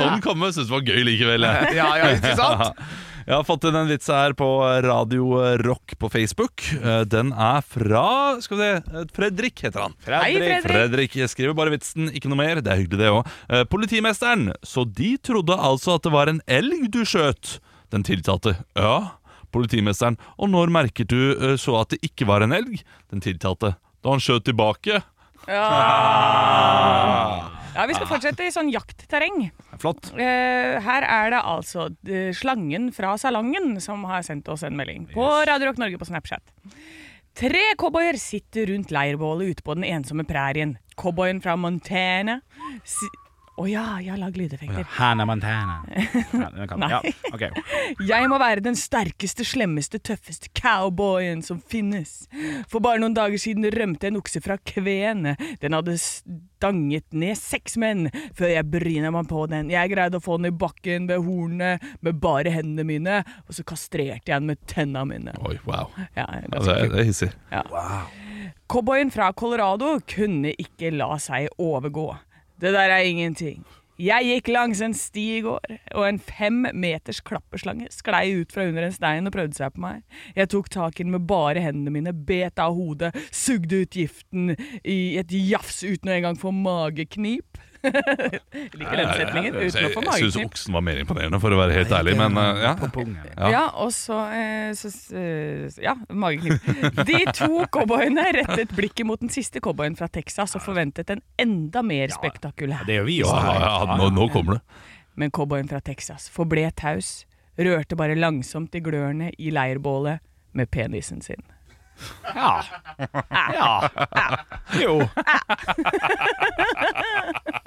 Speaker 4: Sånn komme synes det var gøy likevel. jeg.
Speaker 5: Ja, ja, ikke
Speaker 4: [LAUGHS]
Speaker 5: sant?
Speaker 4: Jeg har fått inn en vits her på Radio Rock på Facebook. Eh, Den er fra skal vi se, eh, Fredrik, heter han.
Speaker 6: Hei, Fredrik.
Speaker 4: Fredrik jeg skriver bare vitsen, ikke noe mer. Det er hyggelig, det òg. Politimesteren. Så de trodde altså at det var en elg du skjøt? Den tiltalte. Ja. Politimesteren. Og når merket du eh, så at det ikke var en elg? Den tiltalte. Da han skjøt tilbake.
Speaker 6: Ja, Vi skal fortsette i sånn jaktterreng.
Speaker 5: Flott.
Speaker 6: Eh, her er det altså eh, slangen fra salongen som har sendt oss en melding på Radio Rock Norge på Snapchat. Tre cowboyer sitter rundt leirbålet ute på den ensomme prærien. Cowboyen fra Montana si Å ja, jeg har lagd lydeffekter.
Speaker 5: Hannah Montana. Ja, den kan- ja, ok.
Speaker 6: Jeg må være den sterkeste, slemmeste, tøffeste cowboyen som finnes. For bare noen dager siden rømte en okse fra kveen. Den hadde stanget ned seks menn før jeg bryna meg på den. Jeg greide å få den i bakken ved hornene med bare hendene mine, og så kastrerte jeg den med tenna mine.
Speaker 4: Oi, wow.
Speaker 6: Ja,
Speaker 4: Ja, det,
Speaker 6: ganske
Speaker 4: er-
Speaker 6: kult.
Speaker 4: det er hissig.
Speaker 6: Cowboyen fra Colorado kunne ikke la seg overgå. Det der er ingenting. Jeg gikk langs en sti i går, og en fem meters klapperslange sklei ut fra under en stein og prøvde seg på meg. Jeg tok tak i den med bare hendene mine, bet av hodet, sugde ut giften i et jafs uten å engang få mageknip. [LAUGHS] Liker den setningen
Speaker 4: Jeg,
Speaker 6: uten å
Speaker 4: jeg,
Speaker 6: få
Speaker 4: jeg syns
Speaker 6: mageknip.
Speaker 4: oksen var mer imponerende, for å være helt ærlig, men eh, ja.
Speaker 6: Ja. og så, eh, så eh, Ja, mageknip. De to cowboyene rettet blikket mot den siste cowboyen fra Texas og forventet en enda mer spektakulær.
Speaker 5: Det gjør vi
Speaker 4: Ja, ja, ja, nå, nå kommer det.
Speaker 6: Men cowboyen fra Texas forble taus, rørte bare langsomt i glørne i leirbålet med penisen sin.
Speaker 5: Jo.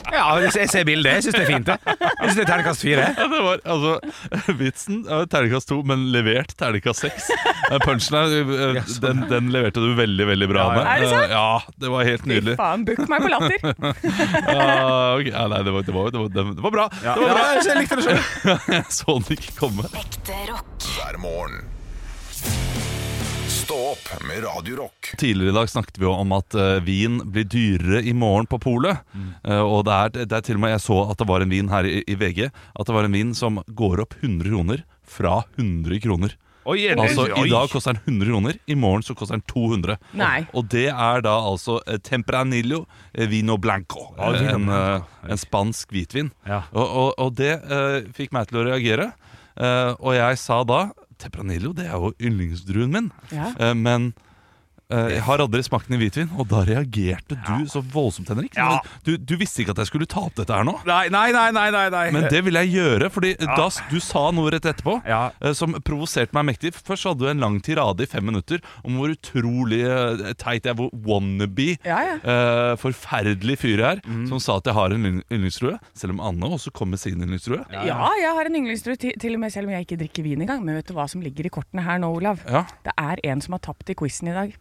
Speaker 5: Ja, jeg ser bildet. Jeg syns det er fint. det. Jeg syns det er terningkast fire.
Speaker 4: Ja, det var altså [LAUGHS] Vitsen er terningkast to, men levert terningkast seks. Eh, Punchen er eh, den, den leverte du veldig, veldig bra
Speaker 5: sånn, Ja, ja.
Speaker 4: med.
Speaker 6: Er det sant?
Speaker 4: Eh, Ja, det var helt
Speaker 6: Fy
Speaker 4: nydelig.
Speaker 6: faen, bukk meg på latter!
Speaker 4: Ja, ok. ja, nei, det var, det, var, det, var, det var bra. Det var bra.
Speaker 5: jeg likte det sjøl.
Speaker 4: [LAUGHS] Jeg så den ikke komme.
Speaker 10: Ekte rock.
Speaker 7: hver morgen. Stå opp med Radio Rock.
Speaker 4: Tidligere i dag snakket vi jo om at eh, vin blir dyrere i morgen på polet.
Speaker 5: Mm.
Speaker 4: Eh, og det er, det er til og med Jeg så at det var en vin her i, i VG At det var en vin som går opp 100 kroner fra 100 kroner. Altså, I dag koster den 100 kroner, i morgen så koster den 200.
Speaker 6: Nei.
Speaker 4: Og, og det er da altså eh, Tempranillo eh, Vino Blanco.
Speaker 5: Ja,
Speaker 4: eh,
Speaker 5: Vino
Speaker 4: en,
Speaker 5: Blanco.
Speaker 4: eh, en spansk hvitvin.
Speaker 5: Ja.
Speaker 4: Og, og, og det eh, fikk meg til å reagere. Eh, og jeg sa da Tempranillo det er jo yndlingsdruen min,
Speaker 6: Ja.
Speaker 4: Eh, men eh, jeg har aldri smakt den i hvitvin, og da reagerte du så voldsomt, Henrik.
Speaker 5: Ja.
Speaker 4: Du, du visste ikke at jeg skulle ta opp dette her nå.
Speaker 5: Nei, nei, nei. nei, nei, nei.
Speaker 4: Men det ville jeg gjøre, fordi da s- du sa noe rett etterpå
Speaker 5: Eh, Ja.
Speaker 4: eh, som provoserte meg mektig. Først hadde du en lang tirade i fem minutter om hvor utrolig eh, teit jeg var. Wannabe.
Speaker 6: Ja, ja.
Speaker 4: eh, forferdelig fyr jeg er,
Speaker 5: Mm.
Speaker 4: som sa at jeg har en yndling- yndlingstrue. Selv om Anne også kom med sin yndlingstrue.
Speaker 6: Ja, jeg har en yndlingstru, til, til og med selv om jeg ikke drikker vin engang. Men vet du hva som ligger i kortene her nå, Olav?
Speaker 4: Ja.
Speaker 6: Det er en som har tapt i quizen i dag.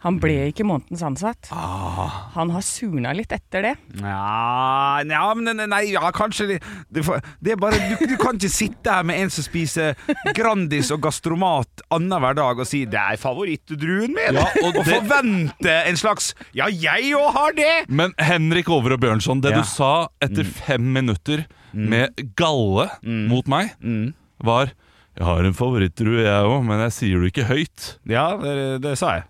Speaker 6: Han ble ikke månedens ansatt. Han har surna litt etter det.
Speaker 5: Ja, ja, men nei, nei, ja, kanskje det, det, får- det er bare, du, du kan ikke sitte her med en som spiser Grandis og Gastromat annenhver dag og si 'det er favorittdruen min',
Speaker 4: Ja, og
Speaker 5: og,
Speaker 4: det-
Speaker 5: forvente en slags 'ja, jeg òg har det'.
Speaker 4: Men Henrik Over og Bjørnson, det
Speaker 5: Ja. Mm.
Speaker 4: du sa etter fem minutter med galle mot meg,
Speaker 5: Mm.
Speaker 4: var Jeg har en favorittdrue, jeg òg, men jeg sier det ikke høyt.
Speaker 5: Ja, det, det sa jeg.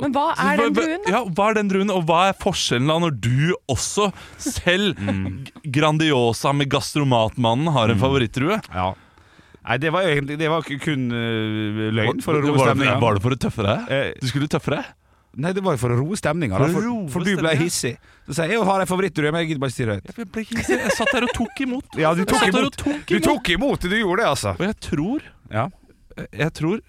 Speaker 6: Men hva er
Speaker 4: Hva-
Speaker 6: den
Speaker 4: hva-
Speaker 6: druen, da?
Speaker 4: Ja, hva er den druen, og hva er forskjellen da når du også [LAUGHS] selv, g- Grandiosa med Gastromatmannen, har en favorittdrue?
Speaker 5: Ja. Nei, det var egentlig det var kun eh, løgn for å roe
Speaker 4: var, det,
Speaker 5: stemninga.
Speaker 4: var det for å tøffe
Speaker 5: Eh,
Speaker 4: deg? Du skulle tøffe deg?
Speaker 5: Nei, det var for å roe stemninga,
Speaker 4: For å
Speaker 5: for,
Speaker 4: roe
Speaker 5: for du ble
Speaker 4: stemninga.
Speaker 5: hissig. Så sier jeg 'jeg har en favorittdrue', men jeg gidder bare ikke si det høyt.
Speaker 4: Jeg, ble ikke, jeg satt der og tok [LAUGHS] imot.
Speaker 5: Ja, du tok
Speaker 4: Jeg satt der
Speaker 5: imot.
Speaker 4: og tok
Speaker 5: Du
Speaker 4: imot.
Speaker 5: tok imot det, du gjorde det, altså.
Speaker 4: Og jeg tror,
Speaker 5: Ja.
Speaker 4: jeg tror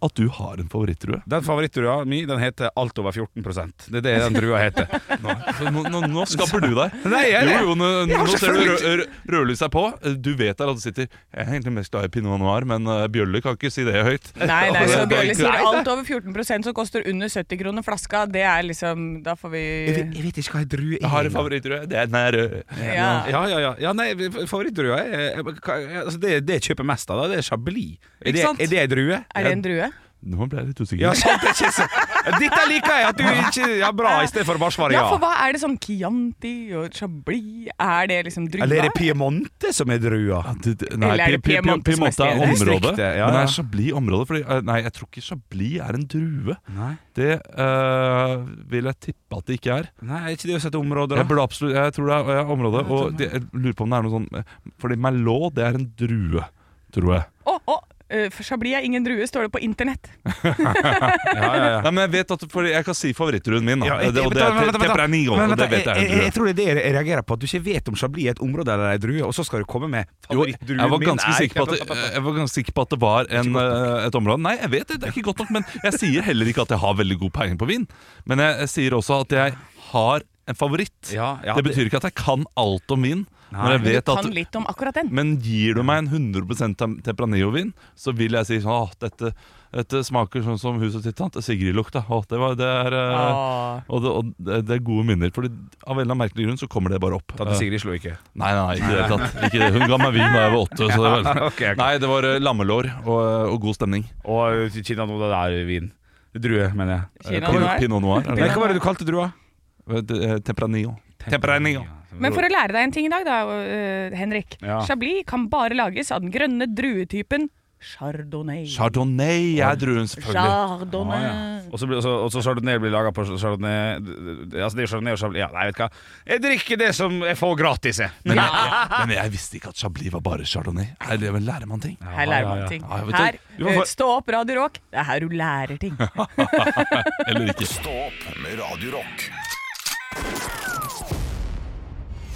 Speaker 4: at du har en favorittdrue.
Speaker 5: Den favorittdrua mi den heter alt over 14 Det er det den drua [LAUGHS] heter.
Speaker 4: Nå, nå, nå, nå skaper du [LAUGHS] deg.
Speaker 5: Nei, jeg-
Speaker 4: jo, jo, nå,
Speaker 5: jeg har
Speaker 4: nå ser du
Speaker 5: selvfølgelig
Speaker 4: rø- rø- rødlyset er på. Du vet der at du sitter Jeg er egentlig mest glad i pinot noir, men eh, Bjølle kan ikke si det høyt. [LAUGHS]
Speaker 6: Nei, nei,
Speaker 4: Det
Speaker 6: så
Speaker 4: er
Speaker 6: Bjørle
Speaker 4: ikke-
Speaker 6: sier alt over 14 som koster under 70 kroner flaska, det er liksom Da får vi
Speaker 5: vet ikke hva ei drue
Speaker 4: Jeg har en favorittdrue. Det er den her røde.
Speaker 6: Ja.
Speaker 5: Ja, ja, ja. ja nei, favorittdrua er er- hva- altså, det, det jeg kjøper mest av, da, det er chablis. Er det,
Speaker 4: sant?
Speaker 5: er det ei drue?
Speaker 6: Er det en drue?
Speaker 4: Nå ble jeg litt usikker.
Speaker 5: Ja, sant, det er ikke så Dette liker jeg, at du ikke Ja, bra, i stedet for å bare svare
Speaker 6: Ja,
Speaker 5: ja.
Speaker 6: for hva er det sånn Chianti og Chablis Er det liksom drua?
Speaker 5: Eller er det Piemonte som er drua?
Speaker 4: Det, det, nei,
Speaker 6: Eller er det
Speaker 4: Pi- Pi- Pi-
Speaker 6: Piemonte som
Speaker 4: Piemonte er
Speaker 6: er
Speaker 5: stedet?
Speaker 4: området.
Speaker 5: Distriktet, ja,
Speaker 4: Men
Speaker 5: ja.
Speaker 4: er Chablis området? Fordi, eh, nei, jeg tror ikke Chablis er en drue.
Speaker 5: Nei.
Speaker 4: Det eh, vil jeg tippe at det ikke er.
Speaker 5: Nei, er ikke det å sette områder, da?
Speaker 4: Jeg, burde absolutt, jeg tror det er eh, området. Og det, jeg lurer på om det er noe sånn eh, Fordi Merlot, det er en drue, tror jeg.
Speaker 6: Å, å, eh, for Chablis er ingen drue, står det på internett.
Speaker 5: Ja, ja, ja.
Speaker 4: Nei, men Jeg vet at for jeg kan si favorittdruen min. Da.
Speaker 5: Ja, jeg-
Speaker 4: det, og
Speaker 5: vent
Speaker 4: det
Speaker 5: da,
Speaker 4: er
Speaker 5: vent da, vent da.
Speaker 4: Tempranillo.
Speaker 5: Men
Speaker 4: og
Speaker 5: vent da,
Speaker 4: Det vet jeg er
Speaker 5: jeg,
Speaker 4: en
Speaker 5: jeg, jeg
Speaker 4: drue.
Speaker 5: tror det er det jeg reagerer på, at du ikke vet om chablis er et område eller ei drue, og så skal du komme med
Speaker 4: Jo,
Speaker 5: favorittdruen
Speaker 4: jeg var
Speaker 5: min
Speaker 4: ganske
Speaker 5: er-
Speaker 4: sikker på
Speaker 5: [LAUGHS]
Speaker 4: at, jeg var ganske sikker på at det var en, eh, et område Nei, jeg vet det, det er ikke godt nok, men jeg sier heller ikke at jeg har veldig god peiling på vin. Men jeg, jeg sier også at jeg har en favoritt.
Speaker 5: Ja, ja,
Speaker 4: det
Speaker 5: det-
Speaker 4: betyr ikke at jeg kan alt om vin.
Speaker 5: Nei.
Speaker 4: men, jeg
Speaker 6: Du
Speaker 4: vet
Speaker 6: kan
Speaker 4: at,
Speaker 6: litt om akkurat den.
Speaker 4: men gir du meg en 100 tem- Tempranillo-vin, så vil jeg si sånn Åh, dette, dette smaker sånn som huset til tante Sigrid lukta. Åh, det, var, det er eh,
Speaker 6: Åh.
Speaker 4: og det, og det- det er gode minner. Fordi Av en eller annen merkelig grunn så kommer det bare opp.
Speaker 5: Tante Sigrid slo ikke.
Speaker 4: Eh, Nei, nei, ikke i det hele tatt. Ikke det. Hun ga meg vin da jeg var åtte. Så
Speaker 5: [LAUGHS]
Speaker 4: det var,
Speaker 5: Ah, ok, ok.
Speaker 4: Nei, det var eh, lammelår og, eh, og god stemning.
Speaker 5: Og eh, Kina nå, det er vin. Drue, mener jeg.
Speaker 6: Kina
Speaker 4: Pin-
Speaker 6: noir.
Speaker 4: Eh, Pinot noir. er det
Speaker 5: Nei,
Speaker 4: det?
Speaker 5: hva var det du kalte drua?
Speaker 4: Eh, det, eh, Tempranillo. Tempranillo.
Speaker 6: Men for å eh, lære Chardonnay.
Speaker 4: Chardonnay Ah, er druen, selvfølgelig.
Speaker 6: Chardonnay.
Speaker 5: sånn, Og så blir- og så- og så chardonnay blir laga på chardonnay Altså det er chardonnay og chablis Ja, nei, vet du hva. Jeg drikker det som jeg får gratis, jeg.
Speaker 4: Men jeg, men jeg visste ikke at Chablis var bare Chardonnay. Er det vel lærer man ting?
Speaker 6: Her lærer man ting.
Speaker 4: Ja, jeg vet
Speaker 6: Her, eh,
Speaker 4: det. Du må få-
Speaker 6: Stå opp, Radio Rock. Det er her du
Speaker 4: [LAUGHS]
Speaker 6: lærer ting.
Speaker 4: Eller ikke.
Speaker 7: Stå opp med Radio Rock.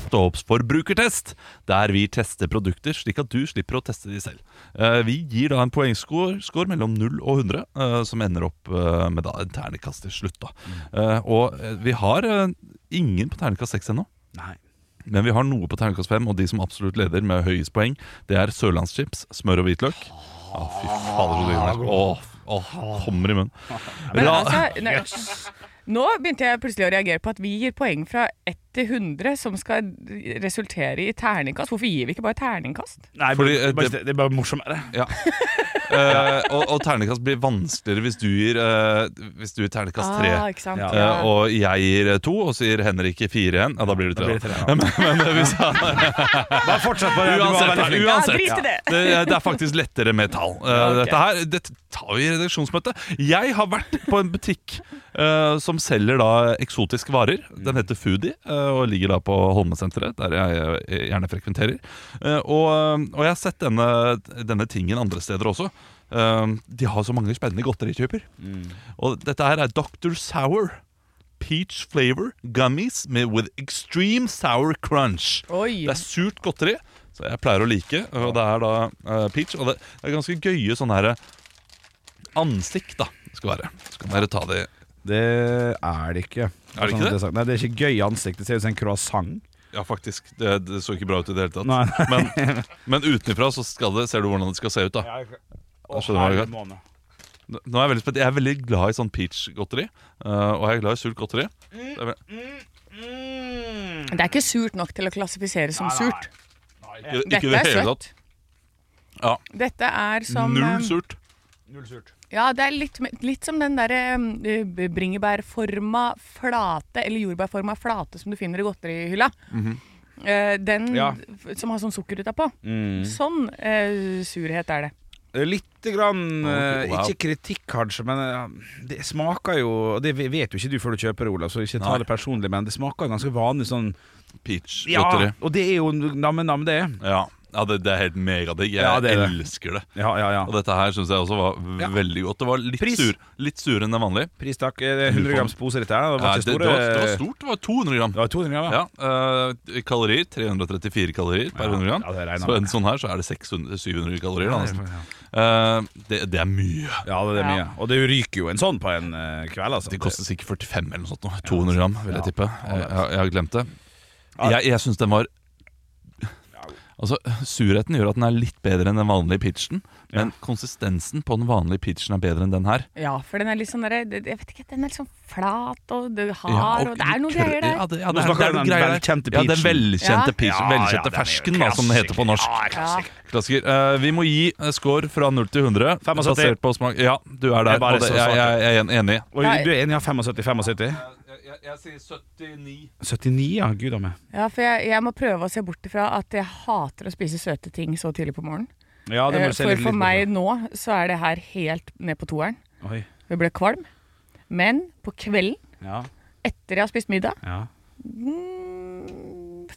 Speaker 4: Stå opps forbrukertest, der vi tester produkter slik at du slipper å teste de selv. Eh, Vi gir da en poengscore score mellom 0 og 100, eh, som ender opp eh, med da en ternekast til slutt. Da. Eh, Og eh, vi har eh, ingen på ternekast 6 ennå.
Speaker 5: Nei.
Speaker 4: Men vi har noe på ternekast 5, og de som absolutt leder med høyest poeng, det er sørlandschips, smør og hvitløk. Å, fy fader, så digg det er. Åh, åh, Kommer i munnen.
Speaker 6: Men
Speaker 4: Ra-
Speaker 6: altså, nei, nå begynte jeg plutselig å reagere på at vi gir poeng fra 1 til 100 som skal resultere i terningkast. Hvorfor gir vi ikke bare terningkast?
Speaker 5: Nei,
Speaker 4: Fordi,
Speaker 5: det,
Speaker 4: eh,
Speaker 5: bare-
Speaker 4: det-
Speaker 5: det er bare morsommere.
Speaker 4: Ja. Eh, og, og ternekast blir vanskeligere hvis du gir, eh, hvis du gir ternekast tre.
Speaker 6: Ah, ikke sant?
Speaker 5: Ja.
Speaker 4: Eh, og jeg gir to, og så gir Henrik fire igjen. Ja, da blir det
Speaker 5: Da
Speaker 4: tre.
Speaker 5: blir det tre,
Speaker 4: da.
Speaker 5: ja.
Speaker 4: men, men eh, hvis han,
Speaker 5: Bare fortsett på det. du var
Speaker 4: uansett,
Speaker 5: veldig flink.
Speaker 4: uansett
Speaker 6: Ja, drit i det.
Speaker 4: det, det er faktisk lettere med tall. Eh,
Speaker 6: ok.
Speaker 4: Dette her dette tar vi i redaksjonsmøte. Jeg har vært på en butikk eh, som selger da eksotiske varer. Den heter Foodie eh, og ligger da på Holmesenteret, der jeg eh, gjerne frekventerer. Eh, og, og jeg har sett denne, denne tingen andre steder også. Eh, de har så mange spennende godterikjøper. Og dette her er Dr. Sour. Peach flavor gummies med with extreme sour crunch.
Speaker 6: Oi.
Speaker 4: Det er surt godteri, så jeg pleier å like. Og det er da eh, peach. Og det det er ganske gøye sånne her ansikt, da. det Skal være. Så kan dere ta det
Speaker 5: Det er det ikke.
Speaker 4: Er det
Speaker 5: Sånn at
Speaker 4: ikke det?
Speaker 5: er sagt. Nei, det er ikke gøy ansikt. Det ser ut som en croissant.
Speaker 4: Ja, faktisk. Det, det så ikke bra ut i det hele tatt.
Speaker 5: Nei.
Speaker 4: Men, men utenfra så skal det, ser du hvordan det skal se ut, da. Jeg skjønner hva det er. Nå nå er jeg veldig spent. Jeg er veldig glad i sånn peach-godteri. eh, og jeg er glad i surt godteri.
Speaker 6: Mm,
Speaker 4: Det er vel-
Speaker 6: Det er ikke surt nok til å klassifisere som surt.
Speaker 4: Ikke, ikke
Speaker 6: mm. Dette
Speaker 4: det
Speaker 6: er
Speaker 4: hele tatt.
Speaker 6: søtt.
Speaker 4: Ja.
Speaker 6: Dette er som eh,
Speaker 4: Null surt.
Speaker 6: Ja, det er litt, litt som den derre eh, bringebærforma flate, eller jordbærforma flate som du finner i godterihylla. Eh, den
Speaker 5: Ja. Mm.
Speaker 6: f- som har sånn sukker utapå. Sånn eh, surhet er det.
Speaker 5: Litt Eh, grann, eh,
Speaker 4: wow.
Speaker 5: ikke kritikk kanskje, men eh, det smaker jo og Det vet jo ikke du før du kjøper det, Olav, så ikke ta
Speaker 4: Nei.
Speaker 5: det personlig, men det smaker ganske vanlig sånn Ja,
Speaker 4: Peach-godteri.
Speaker 5: og det er jo namme-namme, det. er.
Speaker 4: Ja, ja det, det er helt megadigg. Jeg
Speaker 5: Ja, det er det.
Speaker 4: elsker det.
Speaker 5: Ja, ja,
Speaker 4: Og
Speaker 5: ja.
Speaker 4: dette her syns jeg også var v-
Speaker 5: Ja.
Speaker 4: veldig godt. Det var litt,
Speaker 5: Pris.
Speaker 4: sur, litt surere enn det vanlige.
Speaker 5: Pris takk. Eh, det er 100 grams pose, dette her. Det
Speaker 4: Ja,
Speaker 5: var
Speaker 4: det,
Speaker 5: ikke
Speaker 4: det,
Speaker 5: store
Speaker 4: var, det var stort. Det var 200 gram.
Speaker 5: Det var 200 gram, ja.
Speaker 4: Ja, eh, kalorier 334 kalorier per
Speaker 5: Ja,
Speaker 4: 100 gram.
Speaker 5: ja, det regner
Speaker 4: så
Speaker 5: jeg
Speaker 4: en
Speaker 5: med.
Speaker 4: sånn her så er det 600, 700 kalorier. Da,
Speaker 5: Ja, det er-
Speaker 4: nesten. Eh, det, det er mye.
Speaker 5: Ja, det er mye.
Speaker 6: Ja.
Speaker 5: Og det ryker jo en sånn på en eh, kveld, altså.
Speaker 4: De koster sikkert 45 eller noe sånt. nå. 200 gram, vil jeg
Speaker 5: Ja.
Speaker 4: tippe. Jeg, jeg, jeg har glemt det. Jeg, jeg syns den var Altså, Surheten gjør at den er litt bedre enn den vanlige pitchen. Men konsistensen på den vanlige pitchen er bedre enn den her.
Speaker 6: Ja, for den er litt sånn derre det- Jeg vet ikke, den er litt sånn flat og det er hard,
Speaker 4: Ja,
Speaker 6: og, Ah, det er noen
Speaker 4: litt
Speaker 6: greier
Speaker 4: krøll- Ja,
Speaker 6: der.
Speaker 4: det, ja,
Speaker 5: Nå
Speaker 4: det, er-
Speaker 5: snakker
Speaker 4: det er
Speaker 5: vi om
Speaker 4: noen
Speaker 5: den
Speaker 4: greier der.
Speaker 5: velkjente
Speaker 4: Ja, den
Speaker 5: peachen.
Speaker 4: velkjente
Speaker 6: Ja.
Speaker 4: peachen. velkjente fersken, da, som det heter på norsk.
Speaker 5: Ja,
Speaker 6: Ja.
Speaker 5: klassiker.
Speaker 4: Klassiker. Eh, vi må gi eh, score fra 0 til 100.
Speaker 5: 75.
Speaker 4: Basert på smak Ja, du er der.
Speaker 5: Jeg bare
Speaker 4: og det,
Speaker 5: så
Speaker 4: jeg,
Speaker 5: svart.
Speaker 4: jeg, jeg er en- enig.
Speaker 5: Og du er enig i 75-75?
Speaker 4: Jeg, sier 79.
Speaker 5: 79, ja. Gud a meg.
Speaker 6: Ja, for jeg, jeg må prøve å se bort ifra at jeg hater å spise søte ting så tidlig på morgenen.
Speaker 5: Ja, det må
Speaker 6: Eh,
Speaker 5: du se
Speaker 6: for
Speaker 5: litt-
Speaker 6: for
Speaker 5: litt
Speaker 6: meg nå så er det her helt ned på toeren.
Speaker 5: på. Oi.
Speaker 6: Jeg ble kvalm. Men på kvelden,
Speaker 5: Ja,
Speaker 6: etter jeg har spist middag
Speaker 5: ja.
Speaker 6: 46.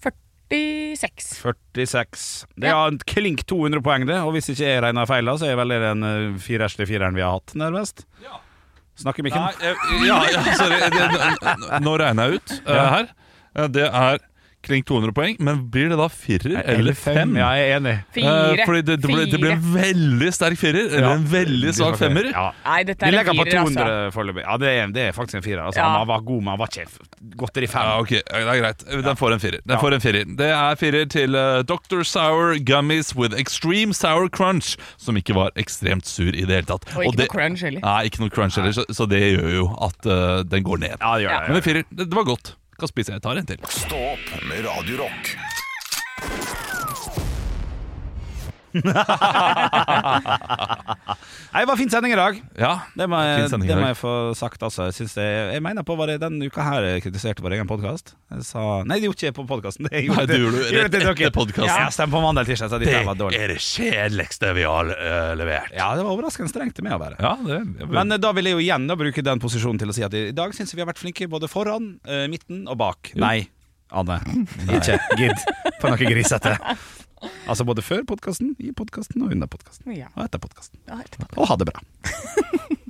Speaker 5: 46. Det er en klink 200 poeng, det. Og hvis ikke jeg regner feil, da, så er vel det den eh, firers til fireren vi har hatt, nærmest. Snakker mikken.
Speaker 4: Nei, jeg, ja, ja, sorry. Det, nå- nå regner jeg ut eh, her. Eh, Det er kring 200 poeng. Men blir det da firer eller fem?
Speaker 5: Ja, jeg er enig.
Speaker 6: Fire.
Speaker 4: Eh, fordi det, det, ble, det ble en
Speaker 6: Fire.
Speaker 4: veldig sterk firer, eller
Speaker 5: Ja.
Speaker 4: en veldig svak femmer.
Speaker 5: Ja.
Speaker 6: Nei, dette
Speaker 5: Vi
Speaker 6: er en
Speaker 5: legger på
Speaker 6: firer,
Speaker 5: 200
Speaker 6: altså.
Speaker 5: foreløpig. Ja, det er, det er faktisk en firer. Altså,
Speaker 6: Ja.
Speaker 5: Han var god, men han var ikke f- godteri fem.
Speaker 4: Ja, ok, eh, det er greit. Den får en firer. Den får en firer. Det er firer til eh, Dr. Sour Gummies with Extreme Sour Crunch, som ikke var ekstremt sur i det hele tatt.
Speaker 6: Og ikke
Speaker 4: det,
Speaker 6: noe crunch heller.
Speaker 4: Nei, ikke noe crunch heller, så, så det gjør jo at eh, den går ned.
Speaker 5: Ja, det gjør
Speaker 6: Ja.
Speaker 5: det.
Speaker 4: Men en firer, det, det var godt. Kan spise, jeg tar en til.
Speaker 7: Stå opp med Radio Rock.
Speaker 5: Nei, det var fin sending i dag.
Speaker 4: Ja,
Speaker 5: Det må,
Speaker 4: Fin
Speaker 5: jeg,
Speaker 4: sending i
Speaker 5: det må
Speaker 4: dag.
Speaker 5: jeg få sagt, altså. Jeg, synes det, jeg mener på hva det denne uka her jeg kritiserte vår egen podkast. Jeg sa Nei, det gjorde ikke jeg på podkasten. [LAUGHS] Det
Speaker 4: Nei, det gjorde du rett
Speaker 5: til dere.
Speaker 4: etter podcasten.
Speaker 5: Ja, stemmer på mandag eller tirsdag. Så de der var
Speaker 4: det
Speaker 5: dårlig.
Speaker 4: er det kjedeligste vi har eh, levert.
Speaker 5: Ja, det var overraskende strengt til meg å være.
Speaker 4: Ja, det jeg,
Speaker 5: Men eh, da vil jeg jo igjen da bruke den posisjonen til å si at i dag syns jeg vi har vært flinke både foran, eh, midten og bak. Nei, Anne. Ikke gidd for noe
Speaker 4: [LAUGHS]
Speaker 5: grisete. Altså både før podkasten, i podkasten og under podkasten.
Speaker 6: Ja.
Speaker 5: Og etter podkasten.
Speaker 6: Ja, helt på.
Speaker 5: Og ha det bra.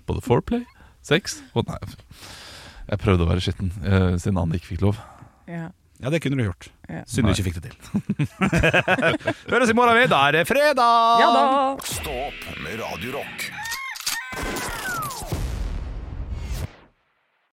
Speaker 4: Både foreplay, sex og Nei. Jeg prøvde å være skitten eh, siden Anne ikke fikk lov.
Speaker 6: Ja.
Speaker 5: Ja, det kunne du gjort.
Speaker 6: Ja.
Speaker 5: Synd du ikke fikk det til. [LAUGHS] Høres i morgen, vi. Da er det fredag!
Speaker 6: ja da!
Speaker 7: Stå opp med Radio Rock.